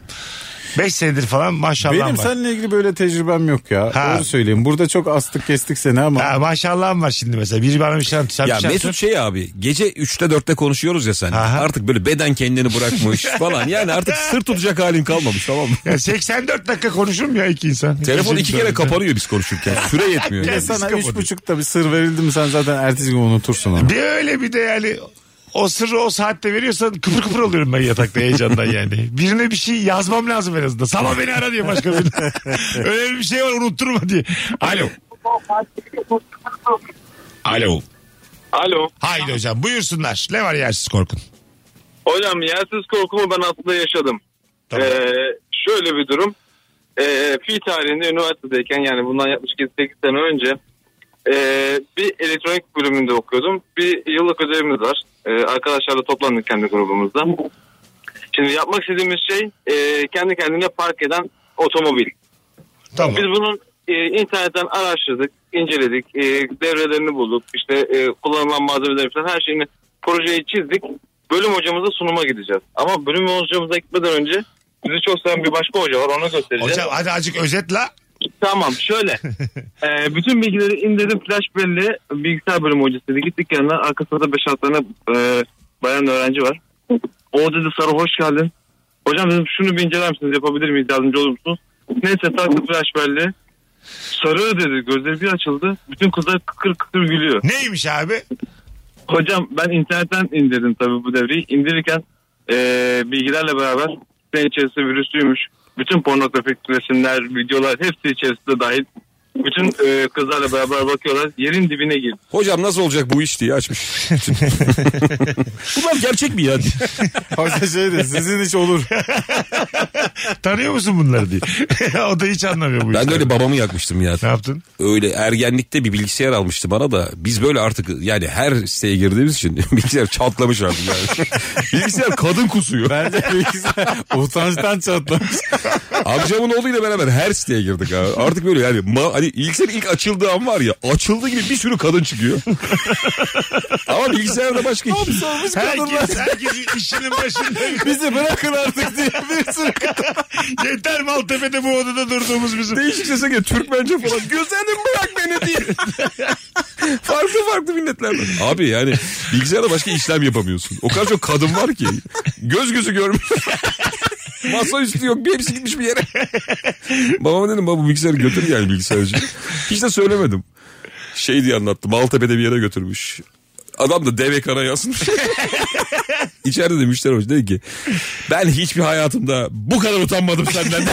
Speaker 2: 5 senedir falan maşallah
Speaker 4: Benim
Speaker 2: var.
Speaker 4: seninle ilgili böyle tecrübem yok ya.
Speaker 2: Ha.
Speaker 4: Doğru söyleyeyim. Burada çok astık kestik seni ama.
Speaker 2: Ha, maşallahım var şimdi mesela. Biri bana bir şey anlatıyor. sen bir
Speaker 3: Ya
Speaker 2: şey
Speaker 3: Mesut şey abi gece 3'te 4'te konuşuyoruz ya sen.
Speaker 2: Aha.
Speaker 3: Artık böyle beden kendini bırakmış falan. Yani artık sır tutacak halin kalmamış tamam mı?
Speaker 2: Ya 84 dakika konuşurum ya iki insan.
Speaker 3: Telefon
Speaker 2: İkinci
Speaker 3: iki kere
Speaker 2: insan.
Speaker 3: kapanıyor biz konuşurken. Süre yetmiyor.
Speaker 4: Ya
Speaker 3: yani.
Speaker 4: sana
Speaker 2: kapatıyor.
Speaker 4: üç buçukta bir sır verildi mi sen zaten ertesi gün unutursun onu.
Speaker 2: Bir öyle bir de yani o sırrı o saatte veriyorsan kıpır kıpır oluyorum ben yatakta heyecandan yani. Birine bir şey yazmam lazım en azından. Sabah beni ara diye başka birine. Öyle bir şey var unutturma diye. Alo. Alo.
Speaker 7: Alo.
Speaker 2: Haydi hocam buyursunlar. Ne var yersiz korkun?
Speaker 7: Hocam yersiz korkumu ben aslında yaşadım.
Speaker 2: Tamam.
Speaker 7: Ee, şöyle bir durum. Ee, fi tarihinde üniversitedeyken yani bundan yaklaşık 8 sene önce ee, bir elektronik bölümünde okuyordum. Bir yıllık ödevimiz var. Ee, arkadaşlarla toplandık kendi grubumuzda. Şimdi yapmak istediğimiz şey ee, kendi kendine park eden otomobil.
Speaker 2: Tamam.
Speaker 7: Biz bunun e, internetten araştırdık, inceledik, e, devrelerini bulduk, işte e, kullanılan malzemeleri falan her şeyini projeyi çizdik. Bölüm hocamıza sunuma gideceğiz. Ama bölüm hocamıza gitmeden önce bizi çok seven bir başka hoca var ona göstereceğiz.
Speaker 2: Hocam hadi azıcık özetla.
Speaker 7: Tamam şöyle. Ee, bütün bilgileri indirdim flash belli. Bilgisayar bölümü hocasıydı. Gittik yanına. Arkasında da 5-6 tane e, bayan öğrenci var. O dedi Sarı hoş geldin. Hocam dedim şunu bir inceler misiniz? Yapabilir miyiz? Yardımcı olur musunuz? Neyse taktı flash belli. Sarı dedi. Gözleri bir açıldı. Bütün kızlar kıkır kıkır gülüyor.
Speaker 2: Neymiş abi?
Speaker 7: Hocam ben internetten indirdim tabii bu devreyi. İndirirken e, bilgilerle beraber sitenin içerisinde virüslüymüş. Bütün pornografik resimler, videolar hepsi içerisinde dahil. Bütün e, kızlarla beraber bakıyorlar. Yerin dibine girdi.
Speaker 3: Hocam nasıl olacak bu iş diye açmış. Bunlar gerçek mi ya?
Speaker 4: Hoca şey de sizin hiç olur.
Speaker 2: Tanıyor musun bunları diye. o da hiç anlamıyor bu
Speaker 3: Ben de
Speaker 2: işleri.
Speaker 3: öyle babamı yakmıştım ya.
Speaker 2: Ne yaptın?
Speaker 3: Öyle ergenlikte bir bilgisayar almıştı bana da biz böyle artık yani her siteye girdiğimiz için bilgisayar çatlamış artık yani. bilgisayar kadın kusuyor.
Speaker 4: Bence bilgisayar utançtan çatlamış.
Speaker 3: Amcamın oğluyla beraber her siteye girdik abi. Artık böyle yani ma- hani bilgisayar ilk açıldığı an var ya açıldığı gibi bir sürü kadın çıkıyor. Ama bilgisayarda başka hiç.
Speaker 2: Herkes, herkes işinin başında.
Speaker 4: Bizi bırakın artık diye bir sürü
Speaker 2: Yeter Maltepe'de bu odada durduğumuz bizim.
Speaker 3: Değişik sese geliyor Türkmence falan. Güzelim bırak beni diye. farklı farklı milletlerden. Abi yani bilgisayarda başka işlem yapamıyorsun. O kadar çok kadın var ki. Göz gözü görmüyor. Masa üstü yok. Bir hepsi gitmiş bir yere. Babama dedim baba bu bilgisayarı götür yani bilgisayarcı. Hiç de söylemedim. Şey diye anlattı. Maltepe'de bir yere götürmüş. Adam da dev ekrana yazmış. İçeride de müşteri olmuş. Dedi ki ben hiçbir hayatımda bu kadar utanmadım senden.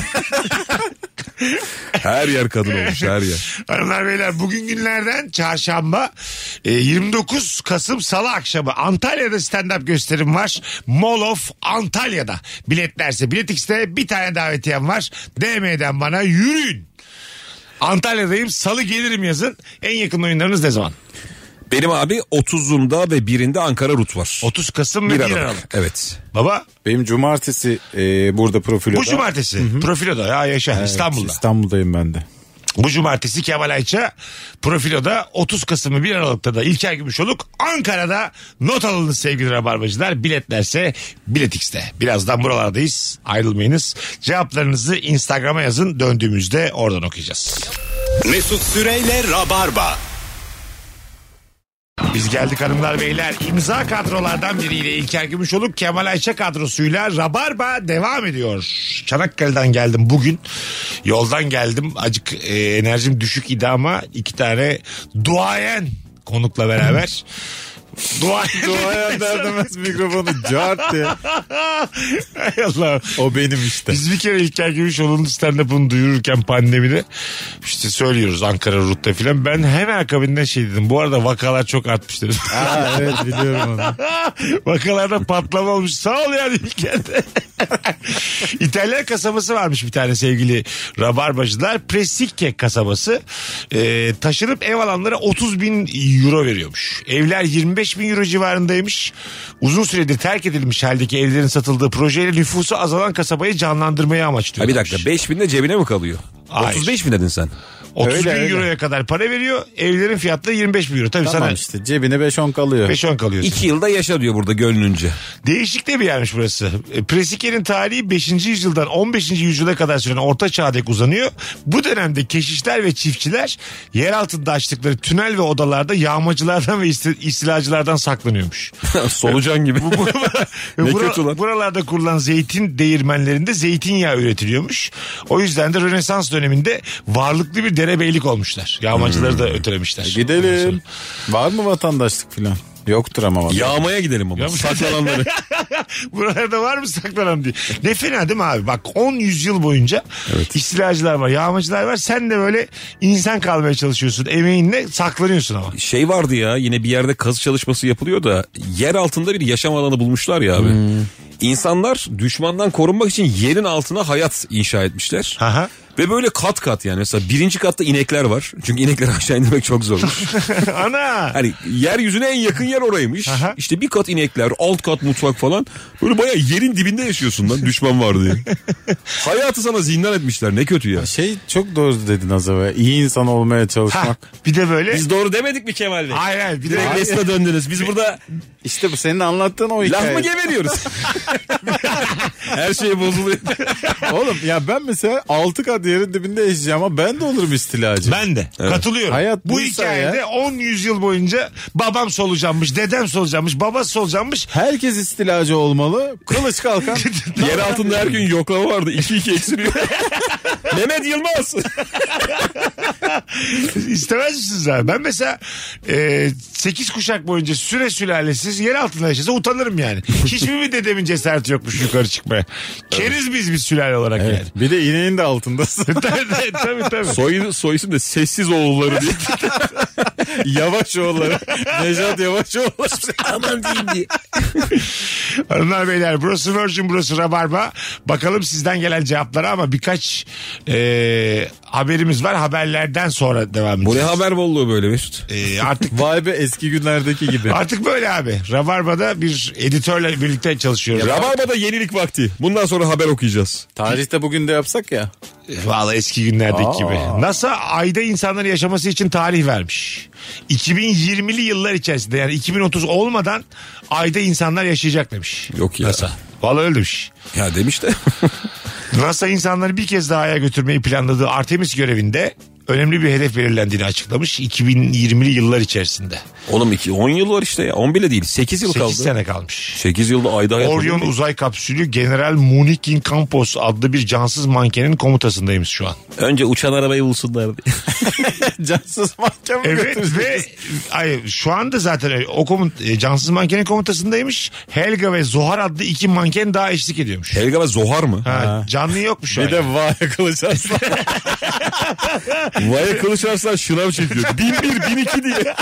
Speaker 3: her yer kadın olmuş her yer.
Speaker 2: Hanımlar beyler bugün günlerden çarşamba e, 29 Kasım Salı akşamı Antalya'da stand-up gösterim var. Mall of Antalya'da. Biletlerse Bilet X'te bir tane davetiyem var. DM'den bana yürüyün. Antalya'dayım salı gelirim yazın. En yakın oyunlarınız ne zaman?
Speaker 3: Benim abi 30'unda ve 1'inde Ankara Rut var.
Speaker 2: 30 Kasım ve 1
Speaker 3: Bir
Speaker 2: Aralık.
Speaker 3: Aralık. Evet.
Speaker 2: Baba
Speaker 4: Benim cumartesi e, burada profiloda.
Speaker 2: bu cumartesi profiloda ya yaşa İstanbul'da.
Speaker 4: İstanbul'dayım ben de.
Speaker 2: Bu cumartesi Kemal Ayça Profilo'da 30 Kasım'ı 1 Aralık'ta da İlker Gümüşoluk Ankara'da not alınız sevgili Rabarbacılar. Biletlerse Biletix'te. Birazdan buralardayız ayrılmayınız. Cevaplarınızı Instagram'a yazın döndüğümüzde oradan okuyacağız.
Speaker 1: Mesut Süreyle Rabarba.
Speaker 2: Biz geldik hanımlar beyler. İmza kadrolardan biriyle İlker Gümüşoluk, Kemal Ayça kadrosuyla Rabarba devam ediyor. Çanakkale'den geldim bugün. Yoldan geldim. Acık e, enerjim düşük idi ama iki tane duayen konukla beraber. duayen.
Speaker 4: Duaya derdemez mikrofonu cart diye.
Speaker 2: Hay Allah.
Speaker 4: O benim işte.
Speaker 2: Biz bir kere İlker Gümüşoğlu'nun stand-up'ını duyururken pandemide işte söylüyoruz Ankara Rut'ta filan. Ben hemen akabinde şey dedim. Bu arada vakalar çok artmış dedim.
Speaker 4: Ha, evet biliyorum onu.
Speaker 2: Vakalarda patlama olmuş. Sağ ol yani ülkede. İtalyan kasabası varmış bir tane sevgili rabarbacılar. Presikke kasabası. Ee, taşınıp ev alanlara 30 bin euro veriyormuş. Evler 25 bin euro civarındaymış. Uzun süredir terk edilmiş haldeki evlerin satıldığı projeyle nüfusu azalan kasabayı canlandırmayı
Speaker 3: Ha
Speaker 2: amaçlıyormuş.
Speaker 3: bir dakika 5000'de cebine mi kalıyor?
Speaker 2: Hayır.
Speaker 3: 35 mi dedin sen?
Speaker 2: 30
Speaker 4: Öyle,
Speaker 2: bin
Speaker 4: öyle.
Speaker 2: euroya kadar para veriyor. Evlerin fiyatları 25 bin euro. Tabii
Speaker 4: Tamam
Speaker 2: sana
Speaker 4: işte cebine 5-10 kalıyor.
Speaker 2: 5-10 kalıyor.
Speaker 3: 2 yılda yaşa diyor burada gönlünce.
Speaker 2: Değişik de bir yermiş burası. E, Presike'nin tarihi 5. yüzyıldan 15. yüzyıla kadar süren orta çağa dek uzanıyor. Bu dönemde keşişler ve çiftçiler yer altında açtıkları tünel ve odalarda yağmacılardan ve isti- istilacılardan saklanıyormuş.
Speaker 3: Solucan gibi.
Speaker 2: Ve
Speaker 3: Ne
Speaker 2: bura-
Speaker 3: kötü lan.
Speaker 2: Buralarda kurulan zeytin değirmenlerinde zeytinyağı üretiliyormuş. O yüzden de Rönesans döneminde varlıklı bir derebeylik olmuşlar. Yağmacıları
Speaker 3: Hmm.
Speaker 2: da ötelemişler.
Speaker 3: E,
Speaker 4: Gidelim. Var mı vatandaşlık falan? Yoktur ama vatandaşlık.
Speaker 3: Yağmaya gidelim ama. Saklalanları.
Speaker 2: Buralarda var mı saklanan diye. Ne fena değil mi abi? Bak 10 yüzyıl boyunca istilacılar var, yağmacılar var. Sen de böyle insan kalmaya çalışıyorsun. Emeğinle saklanıyorsun ama.
Speaker 3: şey vardı ya yine bir yerde kazı çalışması yapılıyor da yer altında bir yaşam alanı bulmuşlar ya abi. İnsanlar düşmandan korunmak için yerin altına hayat inşa etmişler.
Speaker 2: Aha.
Speaker 3: Ve böyle kat kat yani mesela birinci katta inekler var. Çünkü inekleri aşağı indirmek çok zormuş.
Speaker 2: Ana.
Speaker 3: Hani yeryüzüne en yakın yer oraymış.
Speaker 2: Aha.
Speaker 3: İşte bir kat inekler, alt kat mutfak falan. Böyle bayağı yerin dibinde yaşıyorsun lan düşman var diye. Hayatı sana zindan etmişler ne kötü ya.
Speaker 4: Şey çok doğru dedin az evvel. İyi insan olmaya
Speaker 2: Ha,
Speaker 4: çalışmak.
Speaker 2: bir de böyle.
Speaker 3: Biz doğru demedik mi Kemal Bey?
Speaker 2: Hayır hayır bir de
Speaker 3: Direkt Mesut'a döndünüz. Biz burada
Speaker 4: İşte bu senin anlattığın o
Speaker 3: laf
Speaker 4: hikaye.
Speaker 3: mı geberiyoruz? Her şey bozuluyor.
Speaker 4: Oğlum ya ben mesela 6 kat yerin dibinde yaşayacağım ama ben de olurum istilacı.
Speaker 2: Ben de katılıyorum.
Speaker 4: Hayat
Speaker 2: bu
Speaker 4: buysa
Speaker 2: hikayede
Speaker 4: ya.
Speaker 2: 10 yüzyıl boyunca babam solucanmış, dedem solucanmış, babası solucanmış.
Speaker 4: Herkes istilacı olmalı. Kılıç kalkan.
Speaker 3: Yer altında her gün yoklama vardı. 2 2 eksiliyor. Mehmet Yılmaz.
Speaker 2: İstemez misiniz abi? Ben mesela 8 kuşak boyunca süre sülalesiz yer altında yaşasa utanırım yani. Hiçbir mi dedemin cesareti yokmuş yukarı çıkmaya? Keriz biz biz sülale olarak yani.
Speaker 4: bir de ineğin de altındasın.
Speaker 2: tabii tabii. tabii.
Speaker 3: Soy, soy isim de Sessiz Oğulları diye.
Speaker 4: yavaş oğulları. Nejat yavaş oğulları.
Speaker 3: Aman diyeyim diye.
Speaker 2: Hanımlar beyler burası Virgin burası Rabarba. Bakalım sizden gelen cevaplara ama birkaç e, haberimiz var. Haberlerden sonra devam
Speaker 3: Bu ne
Speaker 2: edeceğiz.
Speaker 3: haber bolluğu böyle Mesut?
Speaker 2: E, artık
Speaker 4: Vay be eski günlerdeki gibi.
Speaker 2: Artık böyle abi. Rabarba'da bir editörle birlikte çalışıyoruz.
Speaker 3: Rabarba'da yenilik vakti. Bundan sonra haber okuyacağız.
Speaker 4: Tarihte bugün de yapsak ya.
Speaker 2: Valla eski günlerdeki
Speaker 4: Aa.
Speaker 2: gibi. NASA ayda insanların yaşaması için tarih vermiş. 2020'li yıllar içerisinde yani 2030 olmadan ayda insanlar yaşayacak demiş.
Speaker 3: Yok ya.
Speaker 2: NASA. Valla öyle demiş.
Speaker 3: Ya demiş de.
Speaker 2: NASA insanları bir kez daha aya götürmeyi planladığı Artemis görevinde önemli bir hedef belirlendiğini açıklamış 2020'li yıllar içerisinde.
Speaker 3: Oğlum iki- 10 yıl var işte ya. 10 bile değil. 8 yıl
Speaker 2: 8
Speaker 3: kaldı.
Speaker 2: sene kalmış.
Speaker 3: 8 yılda ayda hayat
Speaker 2: Orion
Speaker 3: olur mu?
Speaker 2: uzay kapsülü General Munikin Campos adlı bir cansız mankenin komutasındayız şu an.
Speaker 3: Önce uçan arabayı bulsunlar diye.
Speaker 4: Cansız mahkeme
Speaker 2: Evet ve ay, şu anda zaten öyle. o komut, e, cansız mankenin komutasındaymış. Helga ve Zohar adlı iki manken daha eşlik ediyormuş.
Speaker 3: Helga ve Zohar mı?
Speaker 2: Ha, canlı yokmuş şu an.
Speaker 4: Bir de vay kılıç aslan.
Speaker 3: Vaya Kılıç Arslan şınav çekiyor. 1001, 1002 diye.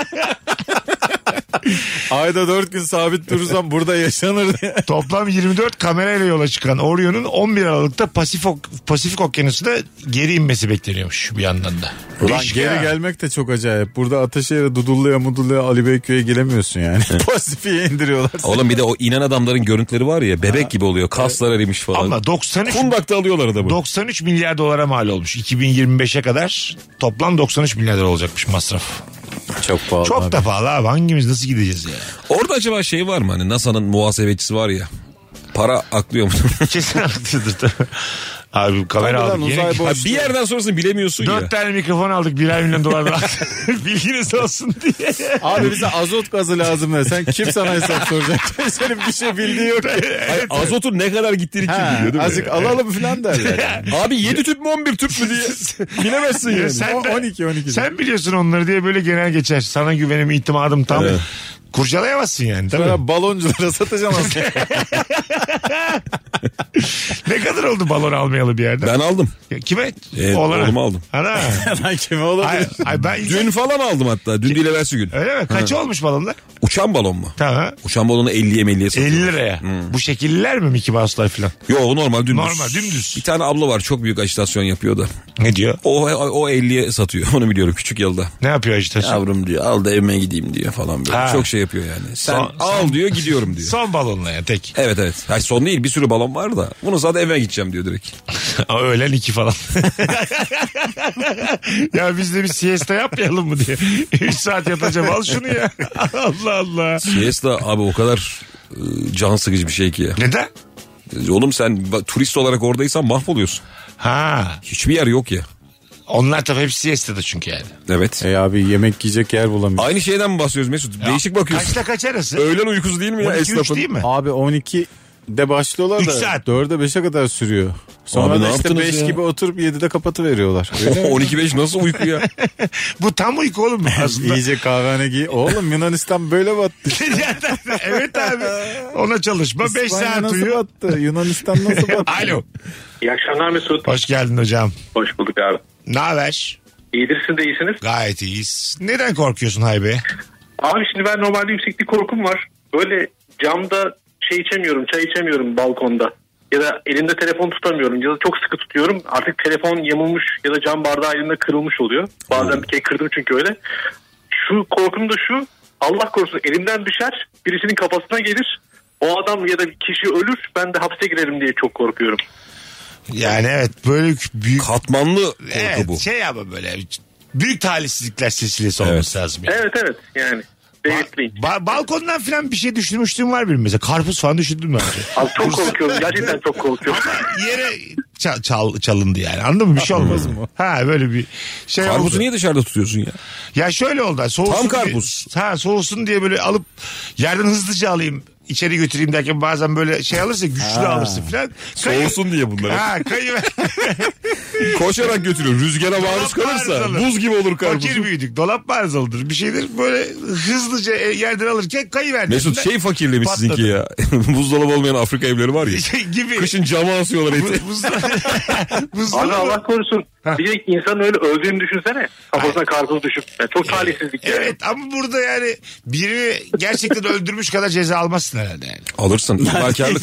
Speaker 4: Ayda dört gün sabit durursam burada yaşanır diye.
Speaker 2: Toplam 24 kamerayla yola çıkan Orion'un 11 Aralık'ta Pasifik, Pasifik Okyanusu'na geri inmesi bekleniyormuş bir yandan da.
Speaker 4: Ulan
Speaker 2: Değişik
Speaker 4: geri
Speaker 2: ha.
Speaker 4: gelmek de çok acayip. Burada Ataşehir'e Dudullu'ya Mudullu'ya Ali Beyköy'e gelemiyorsun yani. Pasifik'e indiriyorlar. seni.
Speaker 3: Oğlum bir de o inen adamların görüntüleri var ya. Bebek gibi oluyor. Kaslar erimiş falan.
Speaker 2: Ama 93
Speaker 3: Kundak'ta alıyorlar adamı.
Speaker 2: 93 milyar dolara mal olmuş. 2025'e kadar toplam 93 milyar dolar olacakmış masraf.
Speaker 4: Çok pahalı.
Speaker 2: Çok da pahalı abi. Hangimiz nasıl gideceğiz ya?
Speaker 3: Orada acaba şey var mı? Hani NASA'nın muhasebecisi var ya. Para aklıyor mu?
Speaker 2: Kesin haklıdır tabii. Abi kamera
Speaker 4: Kameradan
Speaker 2: aldık.
Speaker 4: uzay
Speaker 2: Yeni,
Speaker 4: boş-
Speaker 3: Ha, bir yerden sonrasını bilemiyorsun ya.
Speaker 2: Dört tane mikrofon aldık birer milyon dolar verdik. Bilginiz olsun diye.
Speaker 4: Abi bize azot gazı lazım de. Sen kim sana hesap soracak? Senin bir şey bildiği yok.
Speaker 3: Ay, Azotun ne kadar gittiğini kim
Speaker 4: Ha,
Speaker 3: biliyor değil mi?
Speaker 4: azıcık alalım falan derler.
Speaker 3: Abi 7 tüp mü 11 tüp mü diye. Bilemezsin yani.
Speaker 2: Sen de-
Speaker 4: 12 12.
Speaker 2: Sen biliyorsun onları diye böyle genel geçer. Sana güvenim itimadım tam.
Speaker 3: Evet.
Speaker 2: Kurcalayamazsın yani değil mi?
Speaker 4: Sonra balonculara satacağım aslında.
Speaker 2: Ne kadar oldu balon almayalı bir yerden?
Speaker 3: Ben aldım.
Speaker 2: Kime?
Speaker 3: Evet,
Speaker 2: Oğlana.
Speaker 3: oğluma aldım.
Speaker 2: Ana.
Speaker 4: Lan kime olabilir?
Speaker 2: ay, ay ben
Speaker 3: Dün falan aldım hatta. Dün değil evvelsi gün.
Speaker 2: Öyle mi? Kaç olmuş balonlar?
Speaker 3: Uçan balon mu?
Speaker 2: Tamam.
Speaker 3: Uçan balonu 50'ye 50'ye
Speaker 2: 50
Speaker 3: satıyorlar.
Speaker 2: liraya. Bu şekilliler mi Mickey Mouse'lar falan?
Speaker 3: Yo o normal dümdüz.
Speaker 2: Normal, dümdüz.
Speaker 3: Bir tane abla var çok büyük ajitasyon yapıyor da.
Speaker 2: Ne diyor?
Speaker 3: O, o 50'ye satıyor onu biliyorum küçük yılda.
Speaker 2: Ne yapıyor ajitasyon?
Speaker 3: Yavrum diyor al da evime gideyim diyor falan böyle.
Speaker 2: Ha.
Speaker 3: Çok şey yapıyor yani. Sen
Speaker 2: Son-
Speaker 3: al diyor gidiyorum diyor.
Speaker 2: Son balonla ya tek.
Speaker 3: Evet evet. Hayır, son değil bir sürü balon var da. Bunu zaten evime gideceğim diyor direkt.
Speaker 2: Ama öğlen iki falan. ya biz de bir siesta yapmayalım mı diye. 3 saat yatacağım al şunu ya. Allah Allah.
Speaker 3: Siesta abi o kadar e, can sıkıcı bir şey ki ya.
Speaker 2: Neden?
Speaker 3: E, Oğlum sen ba- turist olarak oradaysan mahvoluyorsun.
Speaker 2: Ha.
Speaker 3: Hiçbir yer yok ya.
Speaker 2: Onlar tabii hep siestada çünkü yani.
Speaker 3: Evet.
Speaker 4: E abi yemek yiyecek yer bulamıyor.
Speaker 3: Aynı şeyden mi bahsediyoruz Mesut? Değişik bakıyorsun.
Speaker 2: Kaçta kaç arası?
Speaker 3: Öğlen uykusu değil mi ya
Speaker 2: 12 3
Speaker 3: esnafın?
Speaker 2: değil mi?
Speaker 4: Abi 12 de başlıyorlar
Speaker 2: Üç
Speaker 4: da
Speaker 2: saat.
Speaker 4: 4'e 5'e kadar sürüyor. Sonra
Speaker 3: Abi ne
Speaker 4: da işte
Speaker 3: yaptınız
Speaker 4: 5
Speaker 3: ya?
Speaker 4: gibi oturup 7'de kapatı veriyorlar.
Speaker 3: 12-5 nasıl uyku ya?
Speaker 2: Bu tam uyku oğlum aslında.
Speaker 4: İyice kahvehane giy. Oğlum Yunanistan böyle battı.
Speaker 2: evet abi. Ona çalışma. 5
Speaker 4: İspanya
Speaker 2: saat
Speaker 4: nasıl
Speaker 2: uyu.
Speaker 4: battı? Yunanistan nasıl battı?
Speaker 2: Alo.
Speaker 7: İyi akşamlar Mesut.
Speaker 2: Hoş geldin hocam.
Speaker 7: Hoş bulduk abi.
Speaker 2: Ne haber?
Speaker 7: İyidir siz de iyisiniz.
Speaker 2: Gayet iyiyiz. Neden korkuyorsun Haybe?
Speaker 7: Abi şimdi ben normalde yükseklik korkum var. Böyle camda şey içemiyorum, çay içemiyorum balkonda. ya da elimde telefon tutamıyorum ya da çok sıkı tutuyorum. Artık telefon yamulmuş ya da cam bardağı elimde kırılmış oluyor. Bazen bir kere kırdım çünkü öyle. Şu korkum da şu Allah korusun elimden düşer birisinin kafasına gelir. O adam ya da bir kişi ölür ben de hapse girerim diye çok korkuyorum.
Speaker 2: Yani evet böyle büyük
Speaker 3: Katmanlı korku
Speaker 2: evet,
Speaker 3: bu.
Speaker 2: şey ama böyle büyük talihsizlikler silsilesi olması lazım. yani.
Speaker 7: Evet evet yani. Belirtmeyin.
Speaker 2: Ba- balkondan falan bir şey düşürmüştüm var benim mesela. Karpuz falan düşürdüm ben.
Speaker 7: Abi çok korkuyorum. Gerçekten çok korkuyorum.
Speaker 2: Yere ça- çal- çalındı yani anladın mı? Bir şey olmaz mı? Ha böyle bir şey
Speaker 3: Karpuzu
Speaker 2: oldu.
Speaker 3: niye dışarıda tutuyorsun ya?
Speaker 2: Ya şöyle oldu. Soğusun
Speaker 3: Tam
Speaker 2: diye-
Speaker 3: karpuz.
Speaker 2: ha soğusun diye böyle alıp yerden hızlıca alayım içeri götüreyim derken bazen böyle şey alırsa güçlü alırsın falan. Kayı-
Speaker 3: Soğusun diye bunları.
Speaker 2: Ha kayıver.
Speaker 3: Koşarak götürüyor. Rüzgara maruz
Speaker 2: Dolap arızalı.
Speaker 3: kalırsa buz gibi olur karpuz.
Speaker 2: Fakir büyüdük. Dolap arızalıdır. Bir şeydir. Böyle hızlıca e, yerden alırken kayıverdi.
Speaker 3: Mesut şey fakirliği mi
Speaker 2: Patladı.
Speaker 3: sizinki ya? Buzdolabı olmayan Afrika evleri var ya.
Speaker 2: şey gibi.
Speaker 3: Kışın cama asıyorlar eti.
Speaker 2: Bu- buzda-
Speaker 7: Abi
Speaker 2: buzdolabı-
Speaker 7: Allah korusun. Bir de insan öyle öldüğünü düşünsene. Kafasına karpuz düşüp. Yani çok talihsizlik. yani.
Speaker 2: Evet ama burada yani birini gerçekten öldürmüş kadar ceza almazsın herhalde yani.
Speaker 3: Alırsın. İhmalkarlık.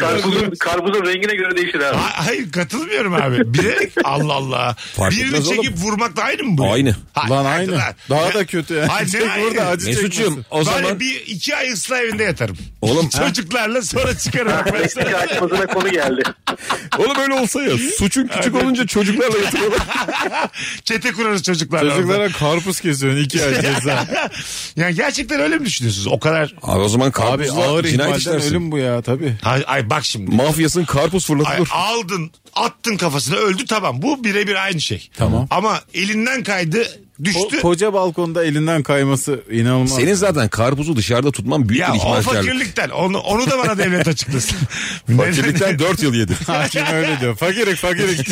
Speaker 7: Karpuzun, karpuzun rengine göre değişir abi.
Speaker 2: Ha- Hayır katılmıyorum abi. Bilerek Allah Allah.
Speaker 3: Fark
Speaker 2: birini
Speaker 3: etmez oğlum.
Speaker 2: çekip vurmak da aynı mı bu?
Speaker 3: Aynı.
Speaker 2: Ha,
Speaker 4: Lan
Speaker 2: hadi
Speaker 4: aynı.
Speaker 2: lan.
Speaker 4: Daha da kötü. Yani.
Speaker 2: Hayır,
Speaker 4: Tek
Speaker 2: hayır.
Speaker 4: burada acı
Speaker 3: Mesut'cum
Speaker 4: çekmesin.
Speaker 3: o
Speaker 2: Böyle
Speaker 3: zaman
Speaker 2: bir iki ay ıslah evinde yatarım.
Speaker 3: Oğlum-
Speaker 2: Çocuklarla sonra çıkarım. Bak ben sana-
Speaker 7: Eski aklımıza konu geldi.
Speaker 3: oğlum öyle olsa ya suçun küçük olunca çocuklarla yatırıyorlar.
Speaker 2: Çete kurarız çocuklarla.
Speaker 4: Çocuklara karpuz kesiyorsun iki ay ceza.
Speaker 2: Yani gerçekten öyle mi düşünüyorsunuz? O kadar...
Speaker 3: Abi o zaman
Speaker 4: Abi
Speaker 3: karpuzla
Speaker 4: ağır
Speaker 3: cinayet
Speaker 4: ihmalden
Speaker 3: işlersin.
Speaker 4: ölüm bu ya tabii.
Speaker 2: Ay, ay bak şimdi.
Speaker 3: Mafyasın karpuz
Speaker 2: Ay,
Speaker 3: fırlatılır.
Speaker 2: aldın, attın kafasına öldü tamam. Bu birebir aynı şey.
Speaker 4: Tamam.
Speaker 2: Ama elinden kaydı,
Speaker 4: O
Speaker 2: düştü.
Speaker 4: koca balkonda elinden kayması inanılmaz.
Speaker 3: Senin zaten karpuzu dışarıda tutman büyük
Speaker 2: ya
Speaker 3: bir
Speaker 2: o
Speaker 3: ihmalkarlık.
Speaker 2: fakirlikten. Onu, onu da bana devlet açıklasın.
Speaker 3: Fakirlikten 4 yıl yedi.
Speaker 4: Hakim öyle diyor. Fakirik fakirik.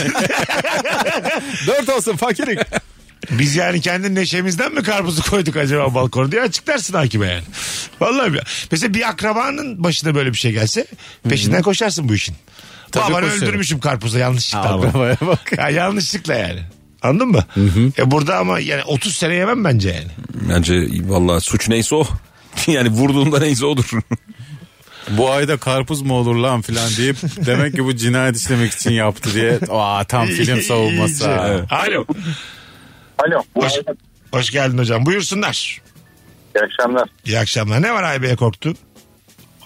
Speaker 4: Dört olsun fakirik.
Speaker 2: Biz yani kendi neşemizden mi karpuzu koyduk acaba balkona diye açıklarsın hakime yani. Vallahi bir- mesela bir akrabanın başına böyle bir şey gelse peşinden koşarsın bu işin.
Speaker 4: Tabii
Speaker 2: Babanı
Speaker 4: koşarım.
Speaker 2: öldürmüşüm karpuza yanlışlıkla. ama.
Speaker 4: Akrabaya bak.
Speaker 2: Ya yanlışlıkla yani. Anladın mı? E burada ama yani 30 sene yemem bence yani.
Speaker 3: Bence valla suç neyse o. Yani vurduğunda neyse odur.
Speaker 4: Bu ayda karpuz mu olur lan filan deyip demek ki bu cinayet işlemek için yaptı diye. Aa tam film savunması.
Speaker 2: İyice.
Speaker 4: ha.
Speaker 2: Alo.
Speaker 7: Alo.
Speaker 2: Hoş, hoş geldin hocam. Buyursunlar.
Speaker 7: İyi akşamlar.
Speaker 2: İyi akşamlar. Ne var Aybe'ye korktun?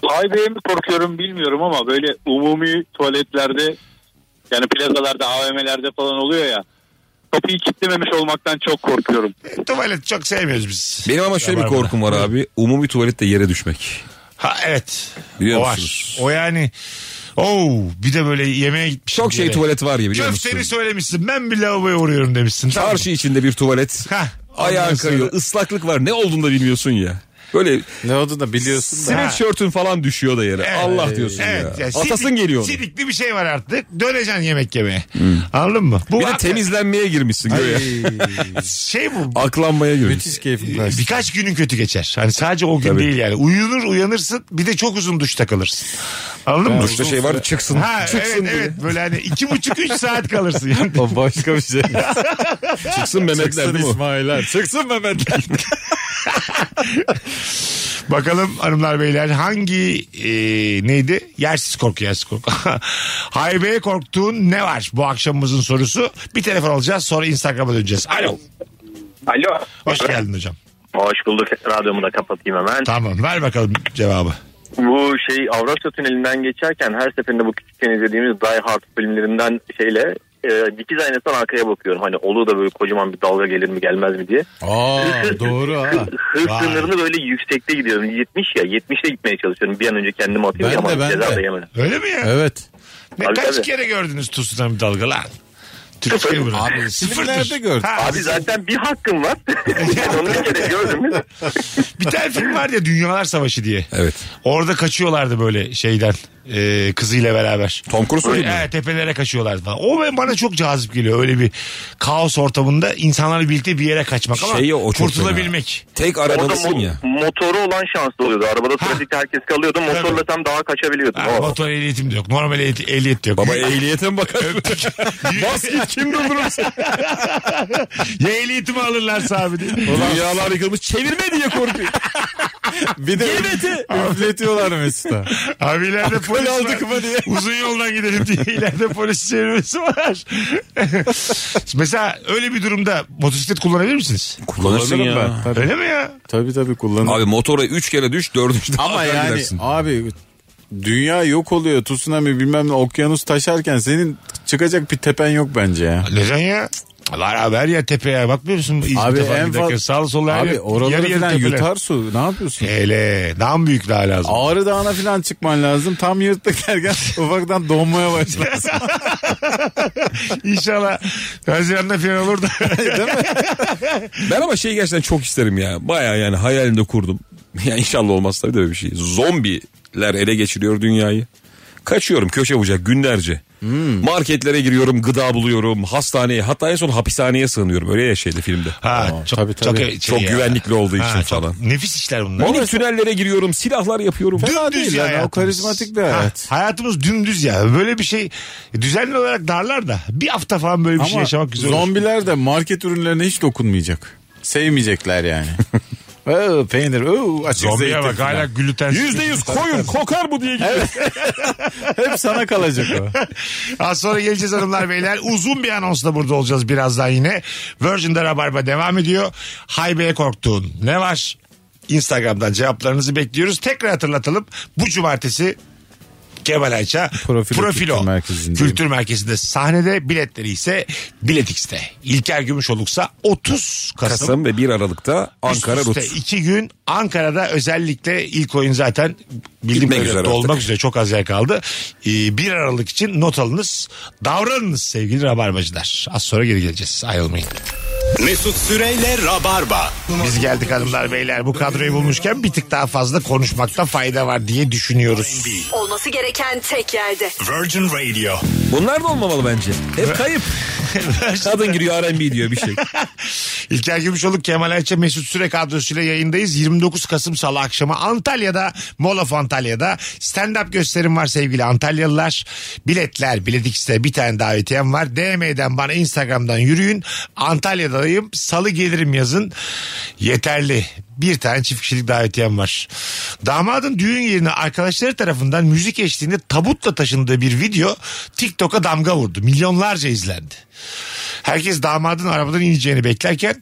Speaker 7: Haybe'ye mi korkuyorum bilmiyorum ama böyle umumi tuvaletlerde yani plazalarda AVM'lerde falan oluyor ya. Kapıyı kilitlememiş olmaktan çok korkuyorum.
Speaker 2: E, tuvalet çok sevmiyoruz biz.
Speaker 3: Benim ama şöyle bir
Speaker 2: Rabarba'da.
Speaker 3: korkum var abi. Umumi tuvalette yere düşmek.
Speaker 2: Ha evet.
Speaker 3: Biliyor
Speaker 2: o
Speaker 3: musunuz?
Speaker 2: var. O yani. Oo, bir de böyle yemeğe gitmiş.
Speaker 3: Çok şey tuvalet var ya biliyor
Speaker 2: Köfteni
Speaker 3: musun?
Speaker 2: söylemişsin. Ben bir lavaboya uğruyorum demişsin. Tamam.
Speaker 3: Çarşı içinde bir tuvalet.
Speaker 2: Hah, ondan
Speaker 3: Ayağın
Speaker 2: sonra-
Speaker 3: kayıyor. Islaklık var. Ne olduğunu da bilmiyorsun ya. Böyle
Speaker 4: Ne oldu da biliyorsun da.
Speaker 3: sweatshirt'ün falan düşüyor da yere.
Speaker 2: Evet.
Speaker 3: Allah diyorsun
Speaker 2: Evet,
Speaker 3: ya.
Speaker 2: yani
Speaker 3: Atasın
Speaker 2: sidik-
Speaker 3: geliyor. ona.
Speaker 2: Sidikli bir şey var artık. Döneceksin yemek yemeye. Anladın mı? Bu
Speaker 3: Bir de
Speaker 2: hakikaten
Speaker 3: temizlenmeye girmişsin göğe.
Speaker 2: şey bu.
Speaker 3: Aklanmaya girmişsin.
Speaker 4: Müthiş keyfim kaçtı.
Speaker 2: Birkaç günün kötü geçer. Hani sadece o gün
Speaker 3: Tabii.
Speaker 2: değil yani. Uyunur uyanırsın bir de çok uzun duşta kalırsın. Anladın mı?
Speaker 3: Duşta şey vardı çıksın.
Speaker 2: Ha
Speaker 3: çıksın
Speaker 2: evet
Speaker 3: diye.
Speaker 2: evet böyle hani iki buçuk üç saat kalırsın yani.
Speaker 4: O başka bir şey.
Speaker 3: Çıksın Mehmetler
Speaker 4: Çıksın
Speaker 3: değil mi? o?
Speaker 4: İsmail'ler. Çıksın Mehmet'ler.
Speaker 2: Bakalım hanımlar beyler hangi e, neydi? Yersiz korku yersiz korku. Haybe'ye korktuğun ne var bu akşamımızın sorusu? Bir telefon alacağız sonra Instagram'a döneceğiz. Alo.
Speaker 7: Alo.
Speaker 2: Hoş geldin hocam.
Speaker 7: Hoş bulduk. Radyomu da kapatayım hemen.
Speaker 2: Tamam ver bakalım cevabı.
Speaker 7: Bu şey Avrasya Tüneli'nden geçerken her seferinde bu küçükken izlediğimiz Die Hard filmlerinden şeyle e, dikiz aynasından arkaya bakıyorum. Hani olur da böyle kocaman bir dalga gelir mi gelmez mi diye.
Speaker 4: Aa doğru ha.
Speaker 7: Hız
Speaker 2: Vay.
Speaker 7: sınırını böyle yüksekte gidiyorum. 70 ya 70'te gitmeye çalışıyorum. Bir an önce kendimi atayım
Speaker 4: Ben
Speaker 7: ama
Speaker 4: de, ben
Speaker 7: ceza
Speaker 4: de.
Speaker 7: da yemedim.
Speaker 2: Öyle mi ya?
Speaker 4: Evet.
Speaker 2: Ne,
Speaker 7: Tabii,
Speaker 2: kaç
Speaker 7: tabii.
Speaker 2: kere gördünüz Tusu'dan bir dalga lan? Türkiye burası.
Speaker 4: Abi, filmlerde gördüm.
Speaker 2: Ha,
Speaker 7: Abi zaten bir hakkım var. Onu bir kere gördün mü?
Speaker 2: bir tane film var ya Dünyalar Savaşı diye.
Speaker 3: Evet.
Speaker 2: Orada kaçıyorlardı böyle şeyden e, kızıyla beraber.
Speaker 3: Tom Cruise muydu?
Speaker 2: Böyle, evet, tepelere kaçıyorlardı falan. O ben- bana çok cazip geliyor. Öyle bir kaos ortamında insanlarla birlikte bir yere kaçmak ama
Speaker 3: Şeyi Şey o çok
Speaker 2: kurtulabilmek.
Speaker 3: Tek
Speaker 7: Orada
Speaker 3: aradalısın
Speaker 7: mo-
Speaker 3: ya.
Speaker 7: motoru olan şanslı oluyordu. Arabada
Speaker 2: Ha.
Speaker 7: trafikte herkes kalıyordu. Motorla sen daha kaçabiliyordun.
Speaker 2: Ha,
Speaker 7: O-
Speaker 2: motor ehliyetim de yok. Normal ehliyet, ehliyet de yok.
Speaker 3: Oh. Baba ehliyete mi bakar? Bas git kim durdurur seni?
Speaker 2: ya ehliyetimi alırlarsa abi diye.
Speaker 3: Dünyalar yıkılmış çevirme diye korkuyor.
Speaker 4: Bir de üfletiyorlar Mesut'a.
Speaker 2: Abi ileride polis var.
Speaker 4: aldık mı diye.
Speaker 2: Uzun yoldan gidelim diye ileride polis çevirmesi var. Mesela öyle bir durumda motosiklet kullanabilir misiniz?
Speaker 3: Kullanırsın
Speaker 4: Kullanırım
Speaker 3: ya.
Speaker 4: ben. Tabii
Speaker 2: Öyle mi ya?
Speaker 4: tabii, tabii kullanırım.
Speaker 3: Abi motora 3 kere düş 4.
Speaker 4: Ama yani abi dünya yok oluyor. Tsunami bilmem ne okyanus taşarken senin çıkacak bir tepen yok bence ya.
Speaker 2: Neden ya? Var haber ya tepeye bakmıyor musun? İzmir
Speaker 4: Abi
Speaker 2: abi
Speaker 4: en fazla
Speaker 2: Sağ sol her yer-
Speaker 4: Abi oraları
Speaker 2: yarı yarı
Speaker 4: falan
Speaker 2: tepeler. E-
Speaker 4: yutar su. Ne yapıyorsun?
Speaker 2: Hele daha mı büyük daha lazım.
Speaker 4: Ağrı Dağı'na falan çıkman lazım. Tam yırtık ergen ufaktan donmaya başlar.
Speaker 2: İnşallah Haziran'da falan olur da.
Speaker 3: Ben ama şeyi gerçekten çok isterim ya. Baya yani hayalimde kurdum. Ya inşallah olmaz tabii de öyle bir şey. Zombiler ele geçiriyor dünyayı. Kaçıyorum köşe bucak günlerce.
Speaker 4: Hmm.
Speaker 3: Marketlere giriyorum, gıda buluyorum, hastaneye hatta en son hapishaneye sığınıyorum. Öyle ya şeyde filmde.
Speaker 2: ha, çok,
Speaker 4: tabii,
Speaker 2: çok,
Speaker 4: tabii.
Speaker 2: şey
Speaker 3: Çok
Speaker 2: ya.
Speaker 3: güvenlikli olduğu için
Speaker 2: Ha, çok
Speaker 3: falan.
Speaker 2: Nefis işler bunlar.
Speaker 3: Minik tünellere giriyorum, silahlar yapıyorum.
Speaker 4: Fena
Speaker 2: Dümdüz
Speaker 4: değil yani o
Speaker 2: hayatımız.
Speaker 4: karizmatik bir
Speaker 2: Ha,
Speaker 4: hayat.
Speaker 2: hayatımız dümdüz ya. Böyle bir şey düzenli olarak darlar da bir hafta falan böyle bir şey
Speaker 4: Ama
Speaker 2: yaşamak güzel olur.
Speaker 4: zombiler de market ürünlerine hiç dokunmayacak. Sevmeyecekler yani. Oo, peynir, oo, açık
Speaker 2: Zombiye
Speaker 4: zeytin
Speaker 2: bak hala
Speaker 4: falan.
Speaker 2: glütensiz.
Speaker 3: Yüzde yüz koyun kokar bu diye gidiyor.
Speaker 4: Hep sana kalacak o.
Speaker 2: Az sonra geleceğiz hanımlar beyler. Uzun bir anonsla burada olacağız birazdan yine. Virgin'de Rabarba devam ediyor. Haybe'ye korktuğun ne var? Instagram'dan cevaplarınızı bekliyoruz. Tekrar hatırlatalım. Bu cumartesi Kemal Ayça
Speaker 4: Profilo
Speaker 2: Profilo
Speaker 4: Kültür
Speaker 2: Kültür
Speaker 4: Merkezi'ndeyim.
Speaker 2: Merkezi'nde, sahnede biletleri ise Bilet X'te. İlker Gümüşoluk'sa 30 Kasım.
Speaker 3: Kasım ve 1 Aralık'ta Ankara
Speaker 2: Üst
Speaker 3: Rut.
Speaker 2: üste iki gün Ankara'da özellikle ilk oyun zaten bildiğim
Speaker 3: Bitmek
Speaker 2: kadarıyla
Speaker 3: üzere
Speaker 2: dolmak
Speaker 3: artık.
Speaker 2: üzere çok az yer kaldı. Ee, 1 Aralık için not alınız. Davranınız sevgili rabarbacılar. Az sonra geri geleceğiz. Ayrılmayın.
Speaker 1: Mesut Süreyle Rabarba.
Speaker 2: Biz geldik hanımlar beyler. Bu kadroyu bulmuşken bir tık daha fazla konuşmakta fayda var diye düşünüyoruz.
Speaker 8: Olması gereken tek yerde.
Speaker 1: Virgin Radio.
Speaker 3: Bunlar da olmamalı bence. Hep kayıp. Kadın giriyor R&B diyor bir şey.
Speaker 2: İlker Gümüşoluk, Kemal Ayça, Mesut Süre kadrosuyla yayındayız. 29 Kasım Salı akşamı Antalya'da, Mall of Antalya'da stand-up gösterim var sevgili Antalyalılar. Biletler, Bilet X'te bir tane davetiyem var. DM'den bana Instagram'dan yürüyün. Antalya'dayım. Salı gelirim yazın. Yeterli. Bir tane çift kişilik davetiyem var. Damadın düğün yerine arkadaşları tarafından müzik eşliğinde tabutla taşındığı bir video TikTok'a damga vurdu. Milyonlarca izlendi. Herkes damadın arabadan ineceğini beklerken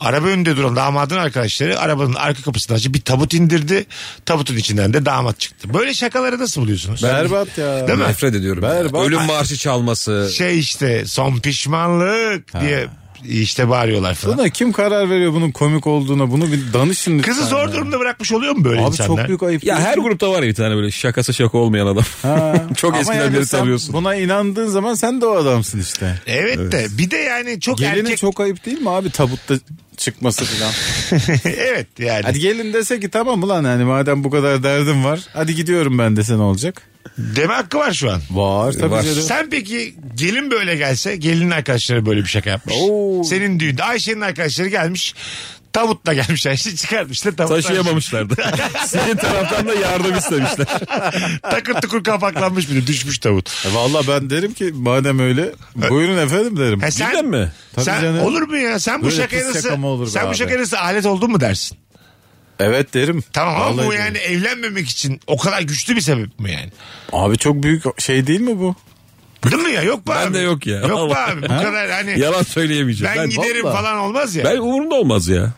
Speaker 2: araba önünde duran damadın arkadaşları arabanın arka kapısını açıp bir tabut indirdi. Tabutun içinden de damat çıktı. Böyle şakaları nasıl buluyorsunuz?
Speaker 4: Berbat ya.
Speaker 2: Değil mi?
Speaker 3: Nefret ediyorum.
Speaker 4: Berbat.
Speaker 3: Ölüm marşı çalması.
Speaker 2: Şey işte son pişmanlık diye işte bağırıyorlar falan.
Speaker 4: Buna kim karar veriyor bunun komik olduğuna? Bunu bir danışın lütfen.
Speaker 2: Kızı zor
Speaker 4: ya.
Speaker 2: durumda bırakmış oluyor mu böyle
Speaker 4: Abi
Speaker 2: insanlar?
Speaker 4: çok büyük ayıp.
Speaker 3: Ya her grupta var ya bir tane böyle şakası şaka olmayan adam.
Speaker 4: Ha.
Speaker 3: Çok
Speaker 4: Ama
Speaker 3: eskiden
Speaker 4: yani
Speaker 3: beri
Speaker 4: sen
Speaker 3: tanıyorsun.
Speaker 4: Buna inandığın zaman sen de o adamsın işte.
Speaker 2: Evet, de bir de yani çok
Speaker 4: Gelinin
Speaker 2: erkek.
Speaker 4: çok ayıp değil mi abi tabutta çıkması falan.
Speaker 2: evet yani.
Speaker 4: Hadi gelin dese ki tamam ulan hani madem bu kadar derdim var. Hadi gidiyorum ben dese ne olacak?
Speaker 2: Deme hakkı var şu an.
Speaker 4: Var tabii
Speaker 3: Var.
Speaker 4: canım.
Speaker 2: Sen peki gelin böyle gelse gelinin arkadaşları böyle bir şaka yapmış.
Speaker 4: Oo.
Speaker 2: Senin düğünde Ayşe'nin arkadaşları gelmiş. Tabutla gelmiş Ayşe çıkartmışlar. Tabutla
Speaker 3: Taşıyamamışlardı. Senin taraftan da yardım istemişler.
Speaker 2: Takır tukur kapaklanmış bir de düşmüş tavut.
Speaker 4: E Valla ben derim ki madem öyle buyurun efendim derim.
Speaker 2: Ha, E sen,
Speaker 3: Cidden mi?
Speaker 4: Tabii
Speaker 2: sen-
Speaker 4: canım.
Speaker 2: olur mu ya? Sen bu
Speaker 4: Böyle
Speaker 2: şakaya
Speaker 4: pis
Speaker 2: nasıl,
Speaker 4: şaka mı olur be
Speaker 2: sen bu
Speaker 4: abi?
Speaker 2: şakaya nasıl alet oldun mu dersin?
Speaker 4: Evet derim.
Speaker 2: Tamam ama
Speaker 4: Vallahi
Speaker 2: bu
Speaker 4: derim.
Speaker 2: yani evlenmemek için o kadar güçlü bir sebep mi yani?
Speaker 4: Abi çok büyük şey değil mi bu?
Speaker 2: Değil mi ya? Yok mu abi?
Speaker 3: Ben de yok ya.
Speaker 2: Yok mu
Speaker 3: Vallahi.
Speaker 2: abi? Bu kadar hani
Speaker 3: Yalan söyleyemeyeceğim.
Speaker 2: ben,
Speaker 3: Ben, ben,
Speaker 2: giderim
Speaker 4: vallahi.
Speaker 2: falan olmaz ya.
Speaker 3: umurumda olmaz ya.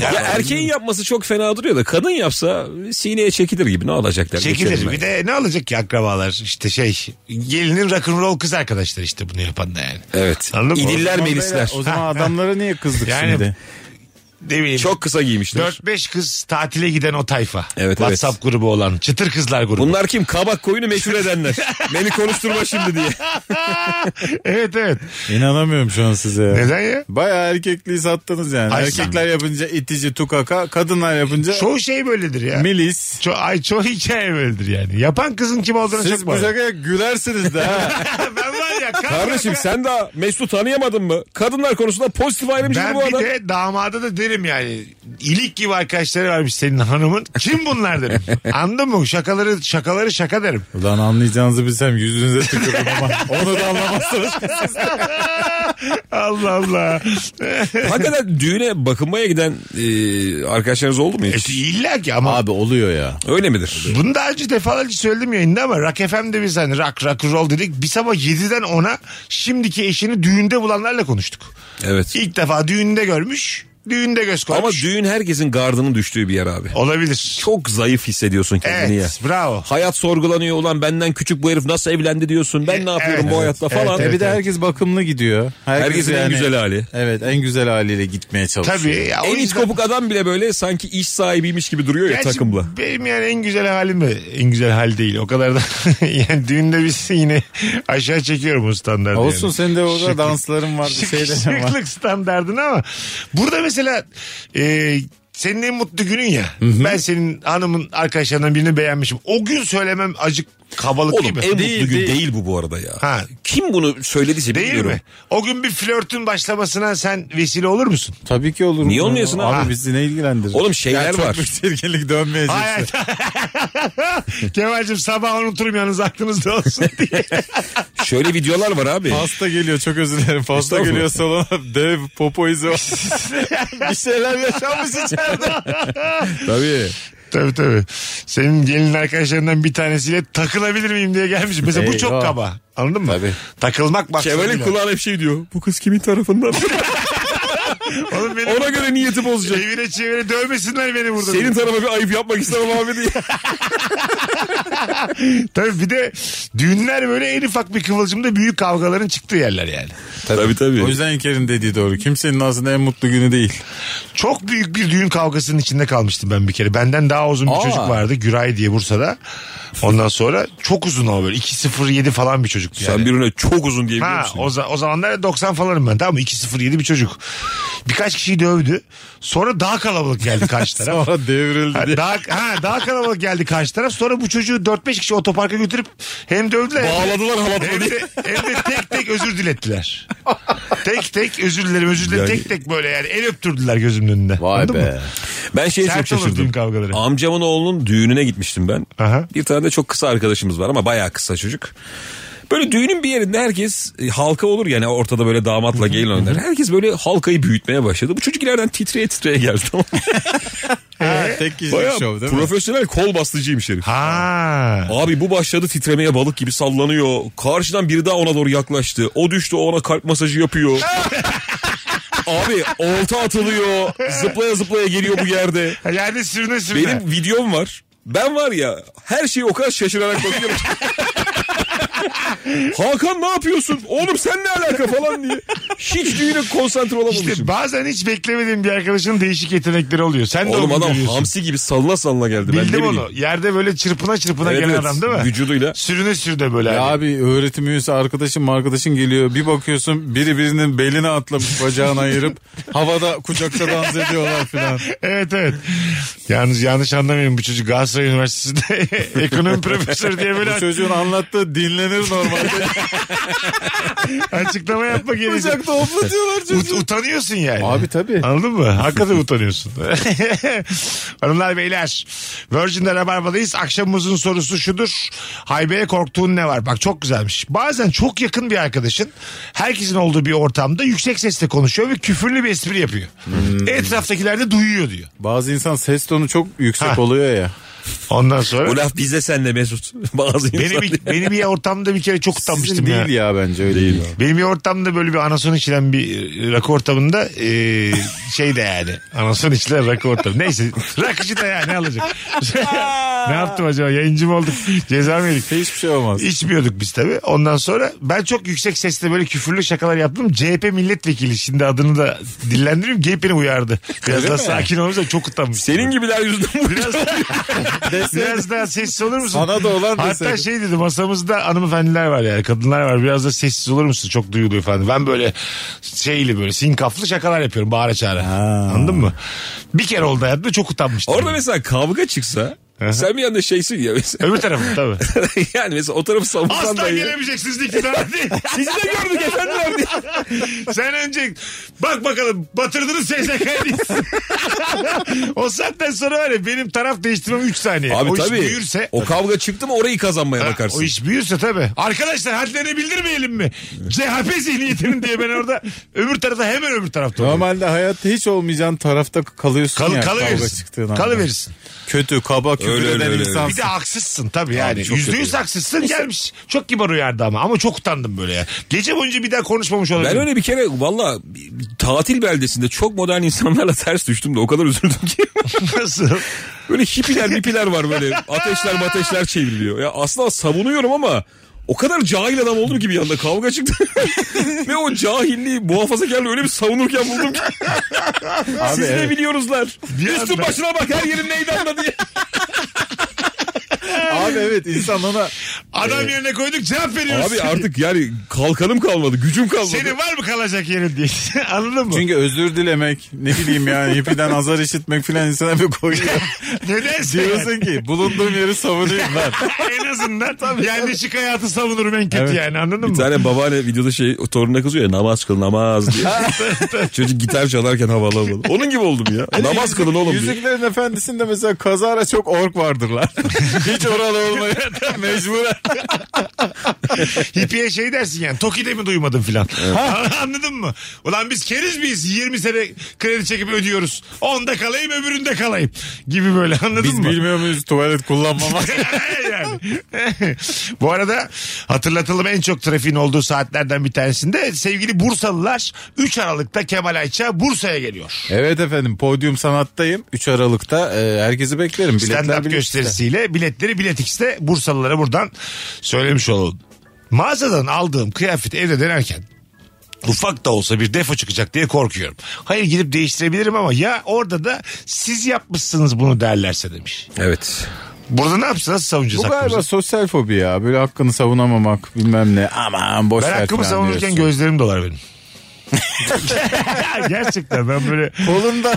Speaker 2: Ya,
Speaker 3: Ya erkeğin yapması çok fena duruyor da kadın yapsa sineye çekilir gibi ne olacaklar? Geçerim
Speaker 2: Çekilir.
Speaker 3: ben.
Speaker 2: Ee, Bir de ne alacak ki akrabalar? İşte şey gelinin rock'n'roll kız arkadaşlar işte bunu yapan da yani.
Speaker 3: Evet.
Speaker 2: Anladın mı?
Speaker 3: İdiller
Speaker 4: Tamam beyler,
Speaker 3: melisler.
Speaker 4: O zaman adamlara niye kızdık
Speaker 2: Yani-
Speaker 4: şimdi?
Speaker 2: Ne bileyim.
Speaker 3: Çok kısa giymişler.
Speaker 2: 4-5 kız tatile giden o tayfa.
Speaker 3: Evet,
Speaker 2: WhatsApp grubu olan. Çıtır kızlar grubu.
Speaker 3: Bunlar kim? Kabak koyunu meşhur edenler. Beni konuşturma şimdi diye.
Speaker 2: evet evet.
Speaker 4: İnanamıyorum şu an size ya.
Speaker 2: Neden ya?
Speaker 4: Baya erkekliği sattınız yani.
Speaker 2: Ay,
Speaker 4: Erkekler yapınca itici tukaka, kadınlar yapınço
Speaker 2: Çoğu şey böyledir ya.
Speaker 4: milis.
Speaker 2: Ço- ay çoğu hikaye böyledir yani. Yapan kızın kim olduğunu
Speaker 4: Siz
Speaker 2: çok
Speaker 4: bu
Speaker 2: bağlı.
Speaker 4: şakaya gülersiniz de ha.
Speaker 2: ben var ya. kar-
Speaker 3: Kardeşim sen daha Mesut'u tanıyamadın mı? Kadınlar konusunda pozitif ayrımcılık
Speaker 2: Ben
Speaker 3: bu
Speaker 2: bir
Speaker 3: adam.
Speaker 2: de damada da derim yani ilik gibi arkadaşları varmış senin hanımın. Kim bunlar derim. Anladın mı? Şakaları şakaları şaka derim.
Speaker 4: Ulan anlayacağınızı bilsem yüzünüze tükürürüm ama onu da anlamazsınız.
Speaker 2: Allah Allah.
Speaker 3: Hakikaten düğüne bakınmaya giden e, arkadaşlarınız oldu mu
Speaker 2: E,
Speaker 3: hiç?
Speaker 2: İlla ki ama
Speaker 4: Abi oluyor ya.
Speaker 3: Öyle midir?
Speaker 2: Bunu daha önce defalarca söyledim yayında ama Rock FM'de biz hani rock rock roll dedik. Biz ama 7'den 10'a şimdiki eşini düğünde bulanlarla konuştuk.
Speaker 3: Evet.
Speaker 2: İlk defa düğünde görmüş, düğünde göz koymuş.
Speaker 3: Ama düğün herkesin gardının düştüğü bir yer abi.
Speaker 2: Olabilir.
Speaker 3: Çok zayıf hissediyorsun kendini
Speaker 2: Evet,
Speaker 3: ya.
Speaker 2: bravo.
Speaker 3: Hayat sorgulanıyor ulan benden küçük bu herif nasıl evlendi diyorsun. Ben ne yapıyorum
Speaker 2: evet,
Speaker 3: bu hayatta
Speaker 2: evet,
Speaker 3: falan.
Speaker 4: E
Speaker 2: evet.
Speaker 4: bir de herkes bakımlı gidiyor. Herkes
Speaker 3: Herkesin en güzel hali.
Speaker 4: Evet en güzel haliyle gitmeye çalışıyor.
Speaker 2: Tabii. Ya, o
Speaker 3: En iç
Speaker 2: yüzden-
Speaker 3: kopuk adam bile böyle sanki iş sahibiymiş gibi duruyor ya
Speaker 2: Gerçi
Speaker 3: takımla.
Speaker 2: Benim yani en güzel halim de en güzel hal değil. O kadar da yani düğünde biz yine aşağı çekiyorum o standartı.
Speaker 4: Olsun
Speaker 2: yani.
Speaker 4: senin de orada
Speaker 2: Şık-
Speaker 4: dansların var bir
Speaker 3: şey
Speaker 2: Şık,
Speaker 4: şeylerin var.
Speaker 2: şıklık standardını ama burada mesela e, senin en mutlu günün ya. Ben senin hanımın arkadaşlarından birini beğenmişim. O gün söylemem acık kabalık
Speaker 3: Oğlum
Speaker 2: değil mi?
Speaker 3: en
Speaker 4: Değil,
Speaker 3: mutlu gün
Speaker 4: değil.
Speaker 3: değil bu bu arada ya.
Speaker 2: Ha.
Speaker 3: Kim bunu söylediyse
Speaker 2: Değil
Speaker 3: bilmiyorum.
Speaker 2: mi? O gün bir flörtün başlamasına sen vesile olur musun?
Speaker 4: Tabii ki olur.
Speaker 3: Niye olmuyorsun
Speaker 4: abi?
Speaker 3: abi?
Speaker 4: bizi ne ilgilendirir?
Speaker 3: Oğlum şeyler
Speaker 4: çok
Speaker 3: var.
Speaker 4: Müşterilik dönmeyecek.
Speaker 2: Hayır. Kemal'cim sabah unuturum yalnız aklınızda olsun diye.
Speaker 3: Şöyle videolar var abi.
Speaker 4: Pasta geliyor çok özür dilerim. Pasta
Speaker 3: Estağfurullah.
Speaker 4: geliyor salona dev popo izi var. bir şeyler yaşanmış içeride.
Speaker 3: Tabii.
Speaker 2: Tabii tabii. Senin gelin arkadaşlarından bir tanesiyle takılabilir miyim diye gelmiş. Mesela bu çok
Speaker 4: Eyvah.
Speaker 2: kaba. Anladın mı?
Speaker 3: Tabii.
Speaker 2: Takılmak maksadıyla.
Speaker 3: Kemal'in kulağına bir şey diyor. Bu kız kimin tarafından?
Speaker 2: Oğlum beni
Speaker 3: Ona göre niyeti bozacak.
Speaker 2: çevire çevire dövmesinler beni burada.
Speaker 3: Senin tarafa bir ayıp yapmak istemem abi diye.
Speaker 2: Tabii bir de düğünler böyle en ufak bir kıvılcımda büyük kavgaların çıktığı yerler yani.
Speaker 3: tabii tabii.
Speaker 4: O yüzden İlker'in dediği doğru. Kimsenin aslında en mutlu günü değil.
Speaker 2: Çok büyük bir düğün kavgasının içinde kalmıştım ben bir kere. Benden daha uzun bir
Speaker 3: Aa.
Speaker 2: çocuk vardı Güray diye Bursa'da. Ondan sonra çok uzun o böyle 2.07 falan bir çocuktu yani.
Speaker 3: Sen birine çok uzun diyebiliyor
Speaker 2: Ha,
Speaker 3: musun?
Speaker 2: o, za- o zamanlar 90 falanım ben tamam mı? 2.07 bir çocuk. Birkaç kişiyi dövdü. Sonra daha kalabalık geldi karşı taraf.
Speaker 4: Sonra devrildi.
Speaker 2: Ha,
Speaker 4: diye.
Speaker 2: daha, ha, daha kalabalık geldi karşı taraf. Sonra bu çocuğu 4-5 kişi otoparka götürüp hem dövdüler. hem de-
Speaker 3: Bağladılar halatla
Speaker 2: Hem
Speaker 3: diye.
Speaker 2: de, hem de tek tek özür dilettiler. tek tek özür dilerim özür dilerim.
Speaker 3: Yani-
Speaker 2: Tek tek böyle yani el öptürdüler gözümün önünde. Anladın mı?
Speaker 3: Ben şeye
Speaker 2: Sert
Speaker 3: çok
Speaker 2: olur düğün kavgaları.
Speaker 3: şaşırdım. Amcamın oğlunun düğününe gitmiştim ben.
Speaker 2: Aha.
Speaker 3: Bir tane de çok kısa arkadaşımız var ama bayağı kısa çocuk. Böyle düğünün bir yerinde herkes e, halka olur yani ortada böyle damatla gelin oynar. Herkes böyle halkayı büyütmeye başladı. Bu çocuk ileriden titreye titreye geldi tamam mı?
Speaker 4: Ha, tek kişilik
Speaker 3: Bayağı
Speaker 4: şov değil mi?
Speaker 3: profesyonel kol bastıcıymış herif.
Speaker 2: Ha.
Speaker 3: Abi bu başladı titremeye balık gibi sallanıyor. Karşıdan biri daha ona doğru yaklaştı. O düştü o ona kalp masajı yapıyor. Abi olta atılıyor. Zıplaya zıplaya geliyor bu yerde.
Speaker 2: Yani sürüne sürüne.
Speaker 3: Benim videom var. Ben var ya her şeyi o kadar şaşırarak bakıyorum. Hakan ne yapıyorsun? Oğlum sen ne alaka falan diye. Hiç düğüne konsantre olamamışım.
Speaker 2: İşte bazen hiç beklemediğim bir arkadaşının değişik yetenekleri oluyor. Sen de
Speaker 3: Oğlum
Speaker 2: onu
Speaker 3: adam
Speaker 2: görüyorsun.
Speaker 3: hamsi gibi sallana sallana geldi. ben
Speaker 2: Bildim
Speaker 3: ne
Speaker 2: onu.
Speaker 3: bileyim.
Speaker 2: Yerde böyle çırpına çırpına
Speaker 3: Evet,
Speaker 2: gelen
Speaker 3: evet.
Speaker 2: adam değil mi?
Speaker 3: Vücuduyla.
Speaker 2: Sürüne sürüne böyle.
Speaker 4: Ya
Speaker 2: hani.
Speaker 4: abi öğretim üyesi arkadaşın arkadaşın geliyor. Bir bakıyorsun biri birinin beline atlamış bacağını ayırıp havada kucakta dans ediyorlar filan.
Speaker 2: Evet evet. Yalnız yanlış anlamayın bu çocuk Galatasaray Üniversitesi'nde ekonomi profesörü diye
Speaker 4: Bu
Speaker 2: böyle
Speaker 4: çocuğun anlattığı dinlenir normalde.
Speaker 2: açıklama yapmak gerekiyor.
Speaker 4: Kucakta hoplatıyorlar çocuğu.
Speaker 2: Ut- utanıyorsun yani.
Speaker 4: Abi tabii.
Speaker 2: Anladın mı? Hakikaten utanıyorsun. Hanımlar beyler Virgin'de Rabarba'dayız. Akşamımızın sorusu şudur. Haybe'ye korktuğun ne var? Bak çok güzelmiş. Bazen çok yakın bir arkadaşın herkesin olduğu bir ortamda yüksek sesle konuşuyor ve küfürlü bir espri yapıyor.
Speaker 4: Hmm.
Speaker 2: Etraftakiler de duyuyor diyor.
Speaker 4: Bazı insan ses tonu çok yüksek
Speaker 2: Ha.
Speaker 4: oluyor ya.
Speaker 2: Ondan sonra
Speaker 3: Bu laf bize senle Mesut. Bazı
Speaker 2: beni
Speaker 3: insan-
Speaker 2: bir, beni bir ortamda bir kere çok
Speaker 4: Sizin
Speaker 2: utanmıştım ya.
Speaker 4: değil ya. bence öyle değil.
Speaker 2: Benim bir ortamda böyle bir anason içilen bir e, rakı ortamında e, şey de yani anason içilen rakı ortamı. Neyse rakıcı da yani ne alacak? ne yaptım acaba yayıncı mı olduk ceza mı yedik?
Speaker 4: Hiçbir şey olmaz.
Speaker 2: İçmiyorduk biz tabii. Ondan sonra ben çok yüksek sesle böyle küfürlü şakalar yaptım. CHP milletvekili şimdi adını da dillendireyim. Geyip beni uyardı. Biraz
Speaker 4: Öyle
Speaker 2: daha
Speaker 4: mi?
Speaker 2: sakin olursa çok utanmıştım.
Speaker 3: Senin gibiler yüzünden bu.
Speaker 2: Biraz, biraz daha sessiz olur musun?
Speaker 4: Sana da olan
Speaker 2: Hatta
Speaker 4: deseydin.
Speaker 2: şey dedi masamızda hanımefendiler var yani kadınlar var biraz da sessiz olur musun çok duyuluyor falan. Ben böyle şeyli böyle sinkaflı şakalar yapıyorum bağıra çağıra. Anladın mı? Bir kere oldu hayatımda çok utanmıştım.
Speaker 3: Orada mesela kavga çıksa Sen bir yanda şeysin ya mesela.
Speaker 2: Öbür tarafı tabii.
Speaker 3: yani mesela o tarafı savunsan da
Speaker 2: Asla
Speaker 3: iyi.
Speaker 2: gelemeyeceksiniz iktidara diye.
Speaker 3: Sizi de gördük efendiler diye.
Speaker 2: Sen önce bak bakalım batırdınız SSK'yı diye. o saatten sonra var ya benim taraf değiştirmem 3 saniye.
Speaker 3: Abi
Speaker 2: o
Speaker 3: tabii.
Speaker 2: iş büyürse.
Speaker 3: O kavga çıktı mı orayı kazanmaya
Speaker 2: Ha,
Speaker 3: bakarsın.
Speaker 2: O iş büyürse tabii. Arkadaşlar hadlerini bildirmeyelim mi? CHP zihniyetinin diye ben orada öbür tarafta hemen öbür tarafta olurum.
Speaker 4: Normalde hayatta hiç olmayacağın tarafta kalıyorsun
Speaker 2: Kal,
Speaker 4: ya. kavga çıktığın
Speaker 2: kalıverirsin.
Speaker 4: anda.
Speaker 2: Kalıverirsin.
Speaker 4: Kötü, kaba, küfür
Speaker 3: Öyle, öyle,
Speaker 4: eden
Speaker 3: öyle.
Speaker 4: insansın.
Speaker 2: Bir de haksızsın tabii yani.
Speaker 3: çok
Speaker 2: Yüzde yüz
Speaker 3: kötü.
Speaker 2: haksızsın gelmiş. Çok kibar uyardı ama. Ama çok utandım böyle ya. Gece boyunca bir daha konuşmamış olabilirim.
Speaker 3: Ben öyle bir kere valla bir tatil beldesinde çok modern insanlarla ters düştüm de o kadar üzüldüm ki.
Speaker 2: Nasıl?
Speaker 3: böyle hippiler mipiler var böyle ateşler mateşler çevriliyor. Ya aslında savunuyorum ama o kadar cahil adam oldum ki bir anda kavga çıktı. Ve o cahilliği muhafazakarla öyle bir savunurken buldum ki. Siz de
Speaker 4: evet.
Speaker 3: biliyoruzlar. Üstün
Speaker 2: anda.
Speaker 3: başına bak her yerin meydanda diye.
Speaker 4: Abi evet insan ona
Speaker 2: Adam yerine koyduk cevap veriyoruz.
Speaker 3: Abi artık yani kalkanım kalmadı gücüm kalmadı.
Speaker 2: Senin var mı kalacak yerin diye. Anladın mı?
Speaker 4: çünkü özür dilemek ne bileyim yani hippiden azar işitmek filan insana bir koyuyor.
Speaker 2: Nedense yani.
Speaker 4: Diyorsun ki bulunduğum yeri savunayım ben.
Speaker 2: en azından yerleşik hayatı savunurum en kötü
Speaker 4: Evet.
Speaker 2: yani anladın
Speaker 3: Bir
Speaker 2: mı?
Speaker 3: tane babaanne videoda şey o torununa kızıyor ya namaz kıl namaz diye. Çocuk gitar çalarken havalı havalı. Onun gibi oldum ya.
Speaker 2: Hani
Speaker 3: namaz kılın oğlum diye.
Speaker 4: Yüzüklerin Efendisi'nde mesela kazara çok ork vardırlar. Hiç oralı olmaya mecburen.
Speaker 2: Hippiye şey dersin yani Toki'de mi duymadın filan. Anladın mı? Ulan biz keriz miyiz? 20 sene kredi çekip ödüyoruz. Onda kalayım öbüründe kalayım. Gibi böyle anladın
Speaker 4: Biz
Speaker 2: mı?
Speaker 4: bilmiyor muyuz tuvalet kullanmamak?
Speaker 2: yani. Bu arada hatırlatalım en çok trafiğin olduğu saatlerden bir tanesinde sevgili Bursalılar 3 Aralık'ta Kemal Ayça Bursa'ya geliyor.
Speaker 4: evet efendim podyum sanattayım. 3 Aralık'ta e, herkesi beklerim. Biletler
Speaker 2: Stand-up
Speaker 4: biletler.
Speaker 2: gösterisiyle biletleri Bilet X'te Bursalılara buradan söylemiş olalım. Mağazadan aldığım kıyafeti evde denerken ufak da olsa bir defo çıkacak diye korkuyorum. Hayır gidip değiştirebilirim ama ya orada da siz yapmışsınız bunu derlerse demiş.
Speaker 3: Evet.
Speaker 2: Burada ne yapsın nasıl savunacağız
Speaker 4: Bu galiba
Speaker 2: hakkımızı?
Speaker 4: sosyal fobi ya. Böyle hakkını savunamamak bilmem ne. Aman boş
Speaker 2: Ben
Speaker 4: ver
Speaker 2: hakkımı
Speaker 4: falan
Speaker 2: savunurken
Speaker 4: diyorsun.
Speaker 2: gözlerim dolar benim. Gerçekten ben böyle
Speaker 4: Kolunda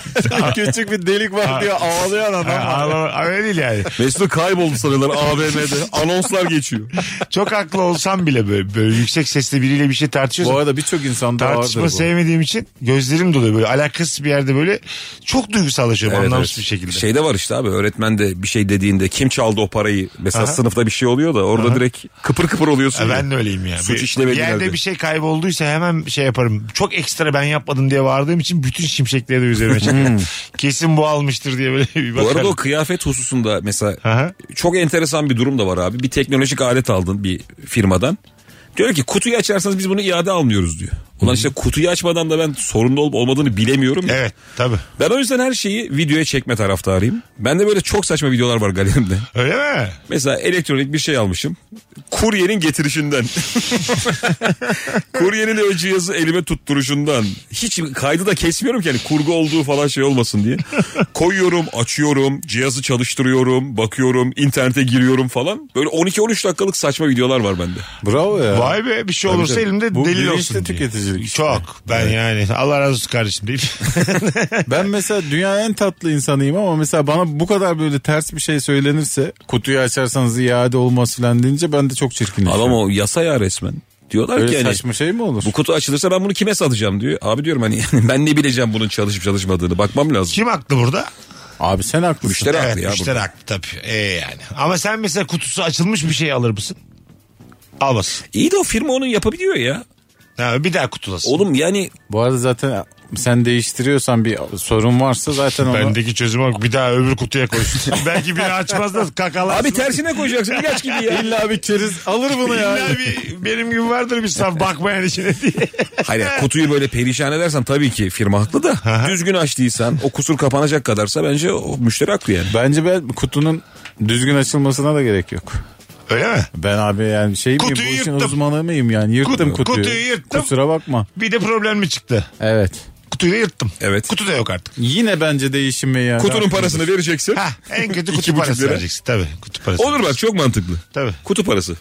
Speaker 4: küçük bir delik var diye ağlayan adam.
Speaker 2: Ha,
Speaker 4: var.
Speaker 2: ağlama- öyle değil yani.
Speaker 3: Mesut'u kayboldu sanıyorlar AVM'de. Anonslar geçiyor.
Speaker 2: Çok haklı olsam bile böyle, böyle yüksek sesle biriyle bir şey tartışıyorsam
Speaker 4: Bu arada birçok insanda vardır
Speaker 2: tartışma
Speaker 4: bu.
Speaker 2: sevmediğim için gözlerim doluyor böyle alakasız bir yerde böyle çok duygusallaşıyorum anlamsız bir şekilde.
Speaker 4: Şey
Speaker 3: Şeyde Şey var işte abi öğretmen de bir şey dediğinde kim çaldı o parayı? Mesela
Speaker 2: Aha.
Speaker 3: sınıfta bir şey oluyor da orada direkt kıpır kıpır oluyorsun.
Speaker 2: Ha,
Speaker 3: ya.
Speaker 2: ben de öyleyim ya.
Speaker 3: Suç
Speaker 2: Bir-
Speaker 3: işlemediğin
Speaker 2: bir yerde
Speaker 3: halde.
Speaker 2: bir şey kaybolduysa hemen şey yaparım. Çok ekstra ben yapmadım diye bağırdığım için bütün şimşekleri de üzerime
Speaker 4: Hmm.
Speaker 2: çekerim. Kesin bu almıştır diye böyle bir
Speaker 3: Bu
Speaker 2: bakarım.
Speaker 3: arada o kıyafet hususunda mesela
Speaker 2: Aha.
Speaker 3: çok enteresan bir durum da var abi. Bir teknolojik alet aldın bir firmadan. Diyor ki kutuyu açarsanız biz bunu iade almıyoruz diyor. Ulan işte kutuyu açmadan da ben sorunlu olup olmadığını bilemiyorum. ya.
Speaker 2: Evet tabii.
Speaker 3: Ben o yüzden her şeyi videoya çekme taraftarıyım. Bende böyle çok saçma videolar var galerimde.
Speaker 2: Öyle mi?
Speaker 3: Mesela elektronik bir şey almışım. Kuryenin getirişinden. Kuryenin o cihazı elime tutturuşundan. Hiç kaydı da kesmiyorum ki hani kurgu olduğu falan şey olmasın diye. Koyuyorum, açıyorum, cihazı çalıştırıyorum, bakıyorum, internete giriyorum falan. Böyle 12-13 dakikalık saçma videolar var bende.
Speaker 4: Bravo ya.
Speaker 2: Vay be bir şey olursa
Speaker 4: tabii.
Speaker 2: elimde
Speaker 4: Bu
Speaker 2: delil
Speaker 4: bilinçli
Speaker 2: olsun diye.
Speaker 4: tüketicilik işte.
Speaker 2: Çok. Ben yani Allah razı olsun kardeşim deyip.
Speaker 4: Ben mesela dünyanın en tatlı insanıyım ama mesela bana bu kadar böyle ters bir şey söylenirse kutuyu açarsanız iade olmaz filan deyince ben de çok çirkinleşiyorum.
Speaker 3: Adam o yasa ya resmen. Diyorlar
Speaker 4: Öyle
Speaker 3: ki hani
Speaker 4: saçma şey mi olur?
Speaker 3: bu kutu açılırsa ben bunu kime satacağım diyor. Abi diyorum hani ben ne bileceğim bunun çalışıp çalışmadığını bakmam lazım.
Speaker 2: Kim haklı burada?
Speaker 4: Abi sen haklısın.
Speaker 3: Müşteri haklı ya
Speaker 2: evet müşteri
Speaker 3: burada.
Speaker 2: haklı tabii. Ee, yani. Ama sen mesela kutusu açılmış bir şey alır mısın? Almasın.
Speaker 3: İyi de o firma onu yapabiliyor ya.
Speaker 2: Ha, bir daha kutulasın.
Speaker 3: Oğlum yani
Speaker 4: Bu arada zaten sen değiştiriyorsan bir sorun varsa zaten onu...
Speaker 2: Bendeki çözüm bak bir daha öbür kutuya koysun. Belki biri açmaz da kakalarsın.
Speaker 3: Abi tersine koyacaksın ilaç gibi ya.
Speaker 4: İlla bir keriz alır bunu ya.
Speaker 2: İlla bir, benim gibi vardır bir saf bakmayan içine diye.
Speaker 3: Hayır yani kutuyu böyle perişan edersen tabii ki firma haklı da. Düzgün açtıysan o kusur kapanacak kadarsa bence o müşteri haklı yani.
Speaker 4: Bence ben kutunun düzgün açılmasına da gerek yok.
Speaker 2: Öyle mi?
Speaker 4: Ben abi yani şey miyim
Speaker 2: Kutuyu
Speaker 4: bu işin
Speaker 2: yırttım.
Speaker 4: uzmanı mıyım yani yırttım
Speaker 2: Kut-
Speaker 4: kutuyu.
Speaker 2: kutuyu yırttım.
Speaker 4: Kusura bakma.
Speaker 2: Bir de problem mi çıktı?
Speaker 4: Evet.
Speaker 2: Kutuyu da yırttım.
Speaker 3: Evet.
Speaker 2: Kutu da yok artık.
Speaker 4: Yine bence değişimi yani.
Speaker 3: Kutunun parasını vereceksin.
Speaker 2: Hah, en kötü
Speaker 3: İki
Speaker 2: kutu
Speaker 3: buçuk
Speaker 2: parası
Speaker 3: lira.
Speaker 2: vereceksin. Tabii kutu parası.
Speaker 3: Olur bak çok mantıklı.
Speaker 2: Tabii.
Speaker 3: Kutu parası.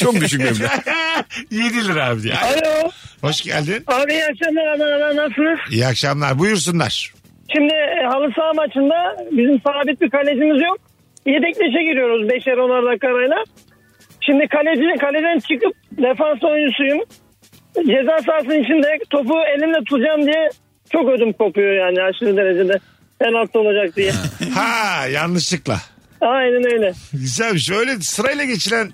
Speaker 3: çok düşük meblağ.
Speaker 2: 7 lira abi diye.
Speaker 9: Alo.
Speaker 2: Hoş geldin.
Speaker 9: Abi iyi akşamlar Adana'da nasılsınız?
Speaker 2: İyi akşamlar. Buyursunlar.
Speaker 9: Şimdi e, halı saha maçında bizim sabit bir kalecimiz yok. Yedekleşe giriyoruz 5'er 10'ar dakikayla. Şimdi kaleci, kaleden çıkıp defans oyuncusuyum. Ceza sahasının içinde topu elimle tutacağım diye çok ödüm kopuyor yani aşırı derecede. Penaltı olacak diye.
Speaker 2: Ha yanlışlıkla.
Speaker 9: Aynen öyle.
Speaker 2: Güzelmiş. şey. Öyle sırayla geçilen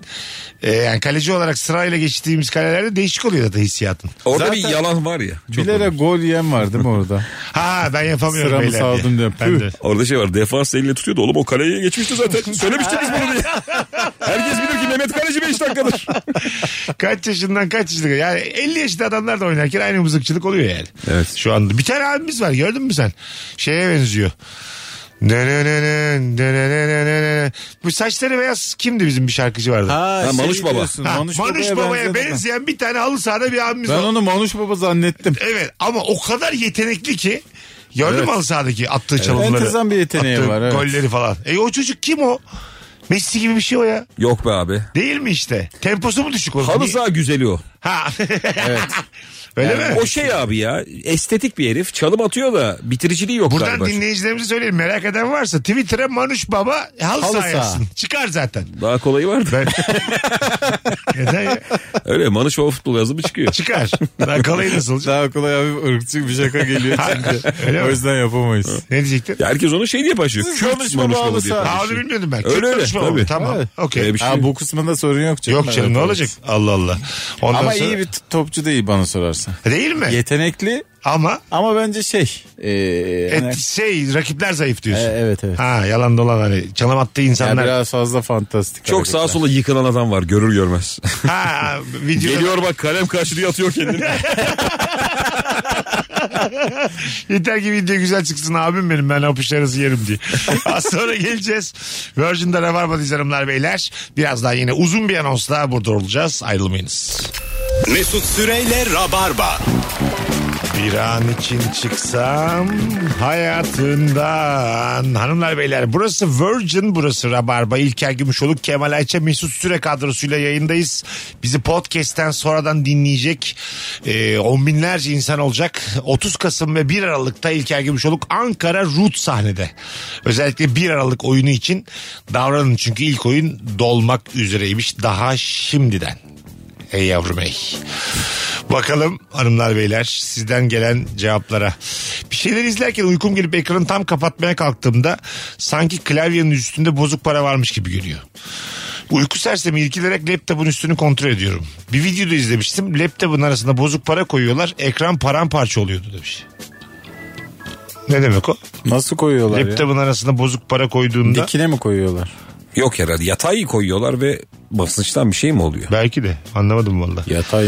Speaker 2: e, yani kaleci olarak sırayla geçtiğimiz kalelerde değişik oluyor zaten hissiyatın.
Speaker 3: Orada
Speaker 4: Zaten-
Speaker 3: bir yalan var ya. Çok
Speaker 4: Bilerek gol yiyen var değil mi orada?
Speaker 2: Ha ben yapamıyorum
Speaker 4: Sıramı
Speaker 2: beyler diye.
Speaker 4: saldım diye.
Speaker 2: Ben
Speaker 4: Püh.
Speaker 2: de.
Speaker 3: Orada şey var defans eliyle tutuyordu. Oğlum o kaleye geçmişti zaten. Söylemiştik biz bunu diye. Herkes bilir ki Mehmet Kaleci 5 dakikadır.
Speaker 2: Kaç yaşından kaç yaşında yani 50 yaşında adamlar da oynarken aynı mızıkçılık oluyor yani.
Speaker 3: Evet.
Speaker 2: Şu anda bir tane abimiz var gördün mü sen? Şeye benziyor. Dönönönön, dönönönönön. Bu saçları beyaz kimdi bizim bir şarkıcı vardı?
Speaker 4: Ha, şey
Speaker 3: Manuş Baba.
Speaker 4: diyorsun,
Speaker 2: Ha,
Speaker 4: Manuş,
Speaker 2: Manuş
Speaker 4: Baba'ya,
Speaker 2: Baba'ya
Speaker 4: benzedim ben.
Speaker 2: benzeyen bir tane halı sahada bir abimiz
Speaker 4: Ben
Speaker 2: var.
Speaker 4: onu Manuş Baba zannettim.
Speaker 2: Evet ama o kadar yetenekli ki gördün mü halı sahadaki attığı çalımları?
Speaker 4: Enteresan bir yeteneği
Speaker 2: attığı
Speaker 4: var, evet.
Speaker 2: Golleri falan. E o çocuk kim o? Messi gibi bir şey o ya.
Speaker 3: Yok be abi.
Speaker 2: Değil mi işte? Temposu mu düşük onun?
Speaker 3: Halı
Speaker 2: Niye-
Speaker 3: saha güzeli o.
Speaker 2: Ha. Öyle mi?
Speaker 3: O şey abi ya estetik bir herif. Çalım atıyor da bitiriciliği yok
Speaker 2: Buradan
Speaker 3: galiba.
Speaker 2: dinleyicilerimize söyleyeyim. Merak eden varsa Twitter'a Manuş Baba halı
Speaker 4: Halı
Speaker 2: saha
Speaker 4: saha.
Speaker 2: yazsın. Çıkar zaten.
Speaker 3: Daha kolayı vardı.
Speaker 2: Ben... Neden ya?
Speaker 3: Öyle Manuş Baba futbol yazdı mı çıkıyor.
Speaker 2: Çıkar. Daha kalayı nasıl olacak?
Speaker 4: Daha kolay hafif ırkçı bir şaka geliyor çünkü.
Speaker 2: Öyle mi?
Speaker 4: o yüzden yapamayız.
Speaker 2: Ne diyecektin?
Speaker 3: Ya herkes onu şey diye başlıyor.
Speaker 4: Siz
Speaker 3: Kürt
Speaker 4: konuşma
Speaker 3: Manuş Baba
Speaker 4: bağlısı
Speaker 3: diye.
Speaker 4: abi.
Speaker 2: Ha
Speaker 3: başlıyor.
Speaker 2: onu bilmiyordum ben.
Speaker 3: Öyle
Speaker 2: Kürtmüş
Speaker 3: öyle,
Speaker 2: Baba.
Speaker 3: tabii.
Speaker 2: Tamam.
Speaker 4: Evet.
Speaker 2: Okey.
Speaker 3: Öyle bir şey.
Speaker 4: Ha, bu kısmında sorun yok canım.
Speaker 2: Yok canım ne
Speaker 4: Evet,
Speaker 2: olacak? Allah Allah. Ondan
Speaker 4: Ama
Speaker 2: sonra...
Speaker 4: iyi bir t- topçu değil bana sorarsan.
Speaker 2: Değil mi?
Speaker 4: Yetenekli
Speaker 2: Ama
Speaker 4: ama bence şey. ee, yani-
Speaker 2: et, şey rakipler zayıf
Speaker 4: E,
Speaker 2: diyorsun.
Speaker 4: evet evet.
Speaker 2: Ha yalan dolan hani çalım attığı
Speaker 4: Yani
Speaker 2: insanlar.
Speaker 4: biraz fazla fantastik.
Speaker 3: Çok sağa
Speaker 4: hareketler.
Speaker 3: sola yıkılan adam var görür görmez.
Speaker 2: Ha videoda
Speaker 3: Geliyor bak kalem karşılığı atıyor kendini.
Speaker 2: Yeter ki video güzel çıksın abim benim ben apış arası yerim diye. Az sonra geleceğiz. Virgin'de Rabarba'dayız hanımlar beyler. Birazdan yine uzun bir anonsla burada olacağız. Ayrılmayınız.
Speaker 1: Mesut Süreyle Rabarba.
Speaker 2: Bir an için çıksam hayatından. Hanımlar beyler burası Virgin burası Rabarba. İlker Gümüşoluk Kemal Ayça Mesut Süre kadrosuyla yayındayız. Bizi podcast'ten sonradan dinleyecek e, on binlerce insan olacak. 30 Kasım ve 1 Aralık'ta İlker Gümüşoluk Ankara Root sahnede. Özellikle 1 Aralık oyunu için davranın çünkü ilk oyun dolmak üzereymiş daha şimdiden. Ey yavrum ey. Bakalım hanımlar beyler sizden gelen cevaplara. Bir şeyler izlerken uykum gelip ekranı tam kapatmaya kalktığımda sanki klavyenin üstünde bozuk para varmış gibi geliyor. Uyku sersemi irkilerek laptopun üstünü kontrol ediyorum. Bir videoda izlemiştim. Laptopun arasında bozuk para koyuyorlar. Ekran paramparça oluyordu demiş. Ne demek o?
Speaker 4: Nasıl koyuyorlar ya?
Speaker 2: Laptopun arasında bozuk para koyduğunda
Speaker 4: Dikine mi koyuyorlar?
Speaker 3: Yok herhalde yatay koyuyorlar ve basınçtan bir şey mi oluyor?
Speaker 2: belki de anlamadım valla.
Speaker 4: Yatay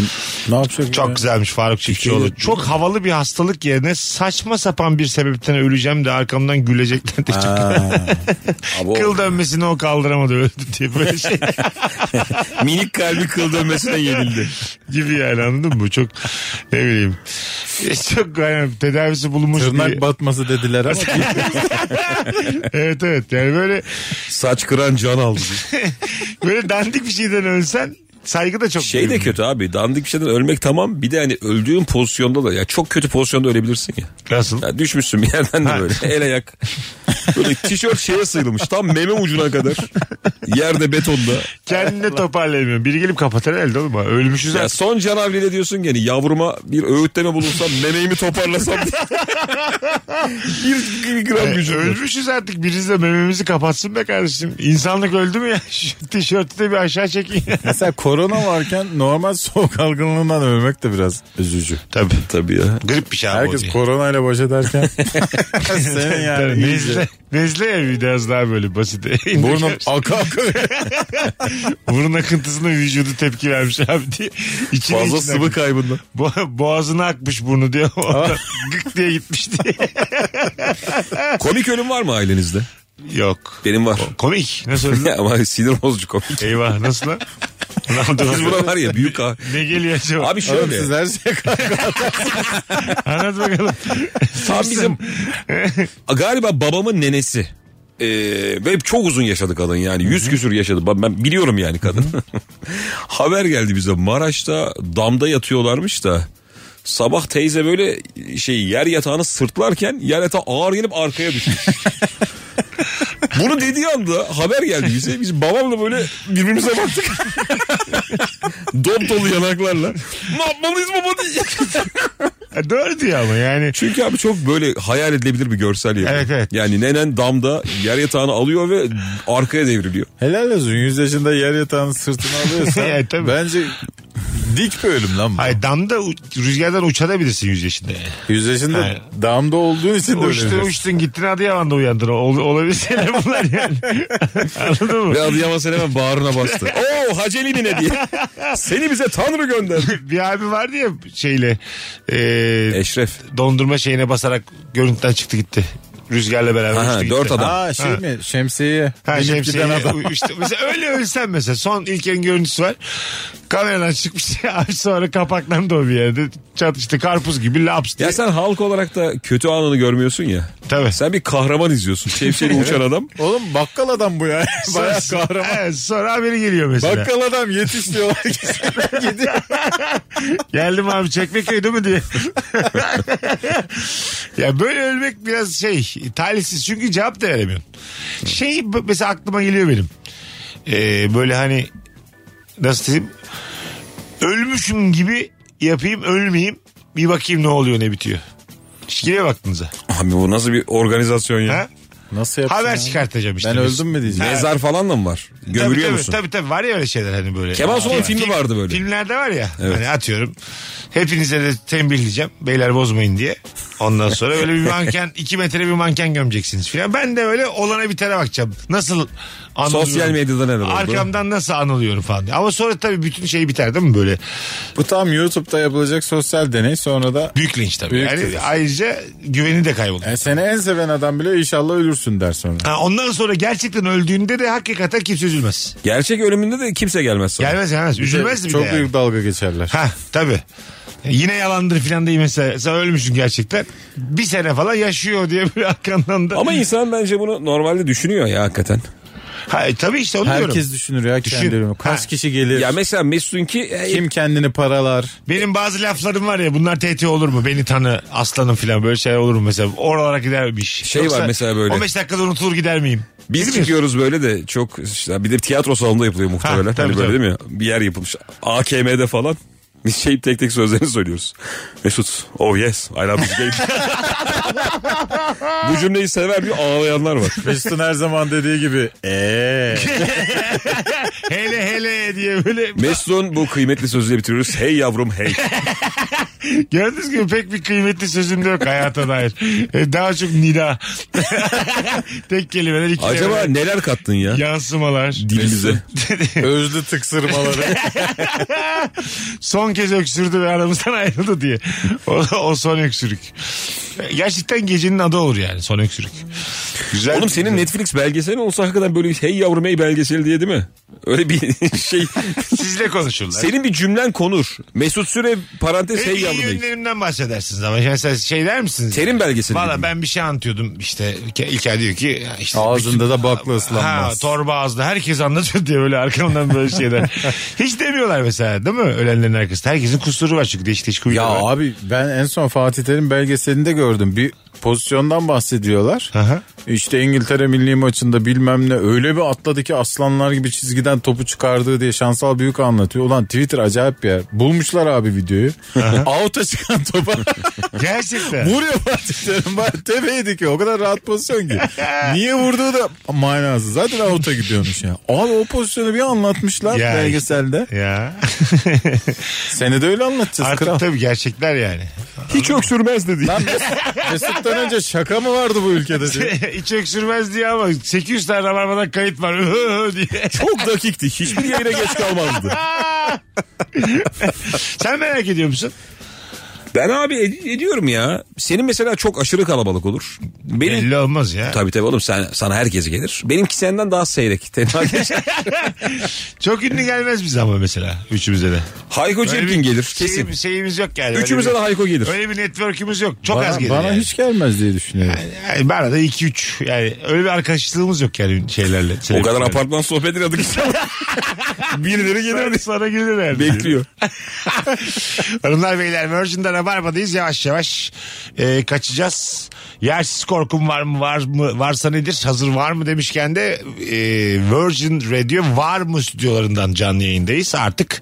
Speaker 4: ne yapacak?
Speaker 2: Çok
Speaker 4: ya?
Speaker 2: güzelmiş Faruk Çiftçioğlu. Çok havalı bir hastalık yerine saçma sapan bir sebepten öleceğim de arkamdan gülecekler diye.
Speaker 3: Abo,
Speaker 2: Kıl dönmesini o kaldıramadı öldü diye böyle şey
Speaker 3: minik kalbi kıl dönmesine yenildi.
Speaker 2: gibi yani anladın mı? Çok ne bileyim. E, Çok yani tedavisi bulunmuş
Speaker 4: Tırnak
Speaker 3: Ee,
Speaker 2: bir-
Speaker 4: batması dediler ama
Speaker 2: evet evet yani böyle
Speaker 3: Saç kıran can aldı.
Speaker 2: böyle dandik bir şeyden ölsen saygı da çok
Speaker 3: Şey de
Speaker 2: duyulmuyor.
Speaker 3: kötü abi dandik bir şeyden ölmek tamam bir de hani öldüğün pozisyonda da ya çok kötü pozisyonda ölebilirsin ya.
Speaker 2: Nasıl?
Speaker 3: Ya düşmüşsün bir yerden de böyle el ayak. Böyle tişört şeye sıyrılmış tam meme ucuna kadar. Yerde betonda.
Speaker 2: Kendini toparlayamıyorum. Biri gelip kapatır elde oğlum. ha. Ölmüşüz
Speaker 3: Ya
Speaker 2: artık.
Speaker 3: son canavliyle diyorsun gene yavruma bir öğütleme bulunsam memeğimi toparlasam diye. Hani bir, bir gram
Speaker 2: Ee,
Speaker 3: gücüm yok.
Speaker 2: ölmüşüz artık. Birisi de mememizi kapatsın be kardeşim. İnsanlık öldü mü ya? Şu tişörtü de bir aşağı çekin.
Speaker 4: mesela korona varken normal soğuk algınlığından ölmek de biraz üzücü.
Speaker 2: Tabii.
Speaker 3: Tabii ya.
Speaker 2: Grip bir şey abi o
Speaker 4: Herkes
Speaker 2: diye.
Speaker 4: koronayla baş ederken senin yani
Speaker 2: Tabii,
Speaker 4: iyice.
Speaker 2: nezle, nezle ya biraz daha böyle basit.
Speaker 4: Burnum aka aka.
Speaker 2: Burun akıntısına vücudu tepki vermiş abi diye. İçine
Speaker 3: Fazla
Speaker 2: içine
Speaker 3: sıvı kaybından.
Speaker 2: akmış. Bo- boğazına akmış burnu diye. Ondan Gık diye gitmiş diye.
Speaker 3: Komik ölüm var mı ailenizde?
Speaker 2: Yok.
Speaker 3: Benim var.
Speaker 2: Komik. Nasıl öldü?
Speaker 3: Ama sinir bozucu komik.
Speaker 2: Eyvah nasıl lan? Ne oldu?
Speaker 3: Biz buna var ya büyük ha.
Speaker 2: Ne geliyor acaba?
Speaker 3: Abi
Speaker 4: Oğlum
Speaker 3: şöyle.
Speaker 4: siz her şey- şeye
Speaker 2: Anlat bakalım.
Speaker 3: Tam bizim galiba babamın nenesi. Ee, ve çok uzun yaşadı kadın yani. Yüz küsür yaşadı. Ben- Ben biliyorum yani kadın. Haber geldi bize. Maraş'ta damda yatıyorlarmış da. Sabah teyze böyle şey yer yatağını sırtlarken yer yatağı ağır gelip arkaya düşmüş. Bunu dediği anda haber geldi bize. Biz babamla böyle birbirimize baktık. Dop dolu yanaklarla. Ne yapmalıyız baba diye.
Speaker 2: E, Doğru diyor ama yani.
Speaker 3: Çünkü abi çok böyle hayal edilebilir bir görsel yapı.
Speaker 2: Evet, evet.
Speaker 3: Yani nenen damda yer yatağını alıyor ve arkaya devriliyor.
Speaker 4: Helal olsun 100 yaşında yer yatağının sırtına alıyorsan.
Speaker 2: Evet, E, tabii.
Speaker 4: Bence dik bir ölüm lan bu.
Speaker 2: Ay damda u- rüzgardan uçabilirsin 100 yaşında. yani.
Speaker 4: 100 yaşında
Speaker 2: Hayır.
Speaker 4: damda olduğun için de
Speaker 2: Uçtun
Speaker 4: ölebilirsin.
Speaker 2: uçtun gittin Adıyaman'da uyandın. Ol, olabilir şeyler bunlar yani. Anladın mı?
Speaker 3: Ve Adıyaman sen hemen bağrına bastı. Oo Haceli'nin ne diye. Seni bize Tanrı gönderdi.
Speaker 2: Bir abi vardı ya şeyle e,
Speaker 3: Eşref.
Speaker 2: dondurma şeyine basarak görüntüden çıktı gitti. Rüzgarla beraber
Speaker 3: Aha,
Speaker 2: uçtu gitti.
Speaker 3: dört adam.
Speaker 4: Aa şey
Speaker 2: Ha.
Speaker 4: mi? Şemsiye.
Speaker 2: Ha,
Speaker 4: Binip
Speaker 2: şemsiye,
Speaker 4: giden adam.
Speaker 2: işte mesela öyle ölsen mesela son İlker'in görüntüsü var. Kameradan çıkmış abi sonra kapaklandı o bir yerde. Çatıştı karpuz gibi laps diye.
Speaker 3: Ya sen halk olarak da kötü anını görmüyorsun ya.
Speaker 2: Tabii.
Speaker 3: Sen bir kahraman izliyorsun. Şemsiyeli uçan adam.
Speaker 4: Oğlum bakkal adam bu ya. Bayağı
Speaker 2: Sonra-
Speaker 4: kahraman.
Speaker 2: Evet, sonra haberi geliyor mesela.
Speaker 4: Bakkal adam yetiş diyorlar.
Speaker 2: Geldim abi Çekmeköy'de mi diye. ya böyle ölmek biraz şey talihsiz çünkü cevap da veremiyorsun. Şey b- mesela aklıma geliyor benim. Ee, böyle hani nasıl diyeyim ölmüşüm gibi yapayım ölmeyeyim bir bakayım ne oluyor ne bitiyor. Hiç geliyor mu aklınıza.
Speaker 3: Abi bu nasıl bir organizasyon ya?
Speaker 2: Ha?
Speaker 4: Nasıl yapsın?
Speaker 2: Haber
Speaker 4: ya?
Speaker 2: çıkartacağım işte.
Speaker 4: Ben öldüm mü diyeceğim.
Speaker 3: Mezar falan da mı var?
Speaker 2: Tabii,
Speaker 3: Gömülüyor
Speaker 2: tabii,
Speaker 3: musun?
Speaker 2: Tabii tabii var ya öyle şeyler hani böyle.
Speaker 3: Kemal Sunal filmi vardı böyle.
Speaker 2: Filmlerde var ya
Speaker 3: Evet.
Speaker 2: hani atıyorum. Hepinize de tembihleyeceğim. Beyler bozmayın diye. Ondan sonra öyle bir manken iki metre bir manken gömeceksiniz filan. Ben de öyle olana bitene bakacağım. Nasıl anılıyorum.
Speaker 3: Sosyal medyada neler oldu?
Speaker 2: Arkamdan nasıl anılıyorum falan. diye. Ama sonra tabii bütün şey biter değil mi böyle?
Speaker 4: Bu tam YouTube'da yapılacak sosyal deney sonra da
Speaker 2: Büyük linç tabii.
Speaker 4: Büyük
Speaker 2: yani
Speaker 4: linç.
Speaker 2: ayrıca güveni de kaybolur.
Speaker 4: yani E, seni en seven adam bile inşallah ölürsün der sonra.
Speaker 2: Ha, ondan sonra gerçekten öldüğünde de hakikaten kimse üzülmez.
Speaker 3: Gerçek ölümünde de kimse gelmez sonra.
Speaker 2: Gelmez gelmez. Üzülmez bir
Speaker 4: Çok
Speaker 2: de yani.
Speaker 4: büyük dalga geçerler.
Speaker 2: Ha tabii. E, Yine yalandır filan değil mesela. Sen ölmüşsün gerçekten. Bir sene falan yaşıyor diye böyle arkandan da.
Speaker 3: Ama insan bence bunu normalde düşünüyor ya hakikaten.
Speaker 2: Ha, e, tabii işte onu diyorum.
Speaker 4: Herkes düşünür ya
Speaker 2: Düşün.
Speaker 4: kendi ölümü. Kaç
Speaker 2: Ha.
Speaker 4: kişi gelir?
Speaker 3: Ya mesela Mesut'unki e,
Speaker 4: kim kendini paralar?
Speaker 2: Benim bazı laflarım var ya bunlar TT olur mu? Beni tanı aslanım filan böyle şeyler olur mu mesela? Oralara gider bir iş.
Speaker 3: Şey var mesela böyle.
Speaker 2: 15 dakikada unutulur gider miyim?
Speaker 3: biz çıkıyoruz böyle de çok işte bir de tiyatro salonunda yapılıyor muhtemelen.
Speaker 2: Ha, tabii,
Speaker 3: hani böyle
Speaker 2: tabii.
Speaker 3: değil mi? Bir yer yapılmış. AKM'de falan. Biz şey tek tek sözlerini söylüyoruz. Mesut, oh yes, I love this game. Bu cümleyi sever bir ağlayanlar var.
Speaker 4: Mesut'un her zaman dediği gibi. Eee.
Speaker 2: Hele hele diye böyle.
Speaker 3: Mesut'un bu kıymetli sözüyle bitiriyoruz. Hey yavrum hey.
Speaker 2: Gördüğünüz gibi pek bir kıymetli sözüm de yok hayata dair. E, Daha çok nida. Tek kelimeler iki
Speaker 3: Acaba
Speaker 2: kelimeler.
Speaker 3: neler kattın ya?
Speaker 2: Yansımalar.
Speaker 3: Dilimize.
Speaker 4: Özlü tıksırmaları.
Speaker 2: son kez öksürdü ve aramızdan ayrıldı diye. O, o son öksürük. Gerçekten gecenin adı olur yani son öksürük. Güzel.
Speaker 3: Oğlum senin Netflix belgeseli olsa hakikaten böyle hey yavrum hey belgeseli diye değil mi? Öyle bir şey.
Speaker 2: Sizle konuşurlar.
Speaker 3: Senin bir cümlen konur. Mesut Süre parantez şey
Speaker 2: Senin
Speaker 3: hey
Speaker 2: iyi
Speaker 3: yavrum hey.
Speaker 2: yönlerimden bahsedersiniz ama mesela şey der misiniz?
Speaker 3: Terim belgeseli.
Speaker 2: Valla ben bir şey anlatıyordum işte İlker diyor ki ya işte
Speaker 4: Ağzında da bakla
Speaker 2: ha,
Speaker 4: ıslanmaz.
Speaker 2: torba ağzında herkes anlatıyor diye böyle arkamdan böyle şeyler. hiç demiyorlar mesela değil mi ölenlerin arkasında herkesin kusuru var çünkü değişik değişik
Speaker 4: Ya
Speaker 2: huyları var.
Speaker 4: abi ben en son Fatih Terim belgeselinde gördüm. Bir pozisyondan bahsediyorlar.
Speaker 2: Aha.
Speaker 4: İşte İngiltere milli maçında bilmem ne öyle bir atladı ki aslanlar gibi çizgiden topu çıkardığı diye şansal büyük anlatıyor. Ulan Twitter acayip bir yer. Bulmuşlar abi videoyu. Out'a çıkan topa
Speaker 2: Gerçekten.
Speaker 4: vuruyor Fatih Terim. Bak Tepeydi ki o kadar rahat pozisyon ki. Niye vurduğu da manasız. Zaten out'a gidiyormuş ya. Abi o pozisyonu bir anlatmışlar
Speaker 2: Ya işte.
Speaker 4: belgeselde.
Speaker 2: ya.
Speaker 4: Seni de öyle anlatacağız kral.
Speaker 2: Artık tabii gerçekler yani.
Speaker 3: Hiç öksürmez dedi.
Speaker 4: Lan Mes- Mesut'tan önce şaka mı vardı bu ülkede? diye.
Speaker 2: İç öksürmez diye ama 800 tane rabarmadan kayıt var diye.
Speaker 3: Çok dakikti. Hiçbir yayına geç kalmazdı.
Speaker 2: Sen merak ediyor musun?
Speaker 3: Ben abi ed- ediyorum ya. Senin mesela çok aşırı kalabalık olur. Benim
Speaker 2: Belli olmaz ya.
Speaker 3: Tabii tabii oğlum sen, sana herkes gelir. Benimki senden daha seyrek. Tenha geçer.
Speaker 2: Çok ünlü gelmez bize ama mesela üçümüze de.
Speaker 3: Hayko Cepkin gelir kesin.
Speaker 2: Şeyim- şeyimiz yok yani.
Speaker 3: Üçümüze de
Speaker 2: öyle
Speaker 3: Hayko
Speaker 2: bir,
Speaker 3: gelir.
Speaker 2: öyle bir network'ümüz yok. Çok az
Speaker 4: Bana,
Speaker 2: gelir
Speaker 4: bana
Speaker 2: yani.
Speaker 4: hiç gelmez diye düşünüyorum.
Speaker 2: Yani bana da 2-3 yani öyle bir arkadaşlığımız yok yani şeylerle.
Speaker 3: O kadar
Speaker 2: şey.
Speaker 3: apartman sohbet ediyorduk. Birileri
Speaker 2: Sana,
Speaker 3: gelir
Speaker 2: sana gelir herhalde.
Speaker 3: bekliyor.
Speaker 2: Hanımlar beyler Virgin'de Rabarba'dayız. Yavaş yavaş e, kaçacağız. Yersiz korkum var mı var mı varsa nedir hazır var mı demişken de e, Virgin Radio var mı stüdyolarından canlı yayındayız artık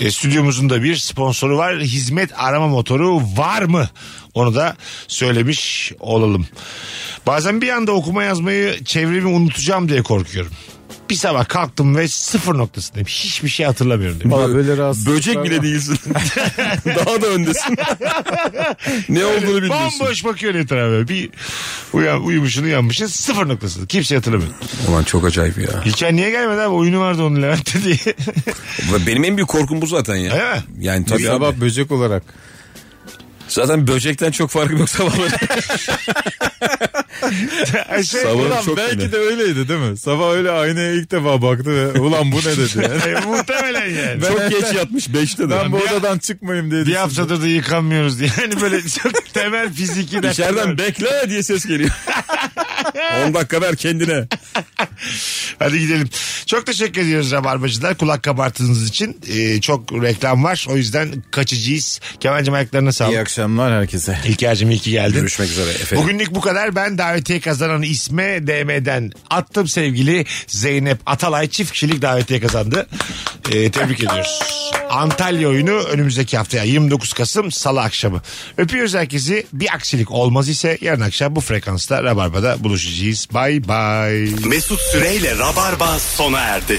Speaker 2: e, stüdyomuzun da bir sponsoru var hizmet arama motoru var mı onu da söylemiş olalım. Bazen bir anda okuma yazmayı çevremi unutacağım diye korkuyorum. Bir sabah kalktım ve sıfır noktasındayım. Hiçbir şey hatırlamıyorum demiş.
Speaker 4: Valla böyle rahatsızlıklar
Speaker 3: Böcek
Speaker 4: var.
Speaker 3: bile değilsin. Daha da öndesin. ne olduğunu bilmiyorsun.
Speaker 2: Bomboş bakıyor etrafa. Bir uyan, uyumuşsun uyanmışsın sıfır noktasında. Kimse hatırlamıyor.
Speaker 3: Aman çok acayip ya.
Speaker 2: İlker niye gelmedi abi? Oyunu vardı onun Levent'te diye.
Speaker 3: Benim en büyük korkum bu zaten ya.
Speaker 2: Öyle mi?
Speaker 3: Yani
Speaker 4: Bir
Speaker 3: tabii abi.
Speaker 4: sabah böcek olarak.
Speaker 3: Zaten böcekten çok farkım yok sabahları.
Speaker 2: Ay şey,
Speaker 3: Sabah-
Speaker 4: Ulan
Speaker 3: çok
Speaker 4: belki
Speaker 3: yine.
Speaker 4: de öyleydi değil mi? Sabah öyle aynaya ilk defa baktı ve ulan bu ne dedi yani.
Speaker 2: e, muhtemelen yani.
Speaker 3: çok geç yatmış 5'te de.
Speaker 4: Ben bu
Speaker 2: Bir-
Speaker 4: odadan çıkmayayım dedi.
Speaker 2: bir haftadır da yıkanmıyoruz diye. Yani böyle çok temel fiziki dertler var.
Speaker 3: İçeriden bekle diye ses geliyor. 10 dakika ver kendine.
Speaker 2: Hadi gidelim. Çok teşekkür ediyoruz Rabarbacılar. Kulak kabarttığınız için Ee, çok reklam var. O yüzden kaçıcıyız. Kemal'cim ayaklarına
Speaker 4: İyi
Speaker 2: sağlık.
Speaker 4: akşamlar herkese.
Speaker 2: İlker'cim iyi ki geldin.
Speaker 3: Görüşmek üzere efendim.
Speaker 2: Bugünlük bu kadar. Ben davetiye kazanan isme DM'den attım sevgili Zeynep Atalay çift kişilik davetiye kazandı. Ee, tebrik ediyoruz. Antalya oyunu önümüzdeki haftaya 29 Kasım Salı akşamı. Öpüyoruz herkesi. Bir aksilik olmaz ise yarın akşam bu frekansta Rabarba'da buluşacağız. Bay bay.
Speaker 1: Mesut Süreyle Rabarba sona erdi.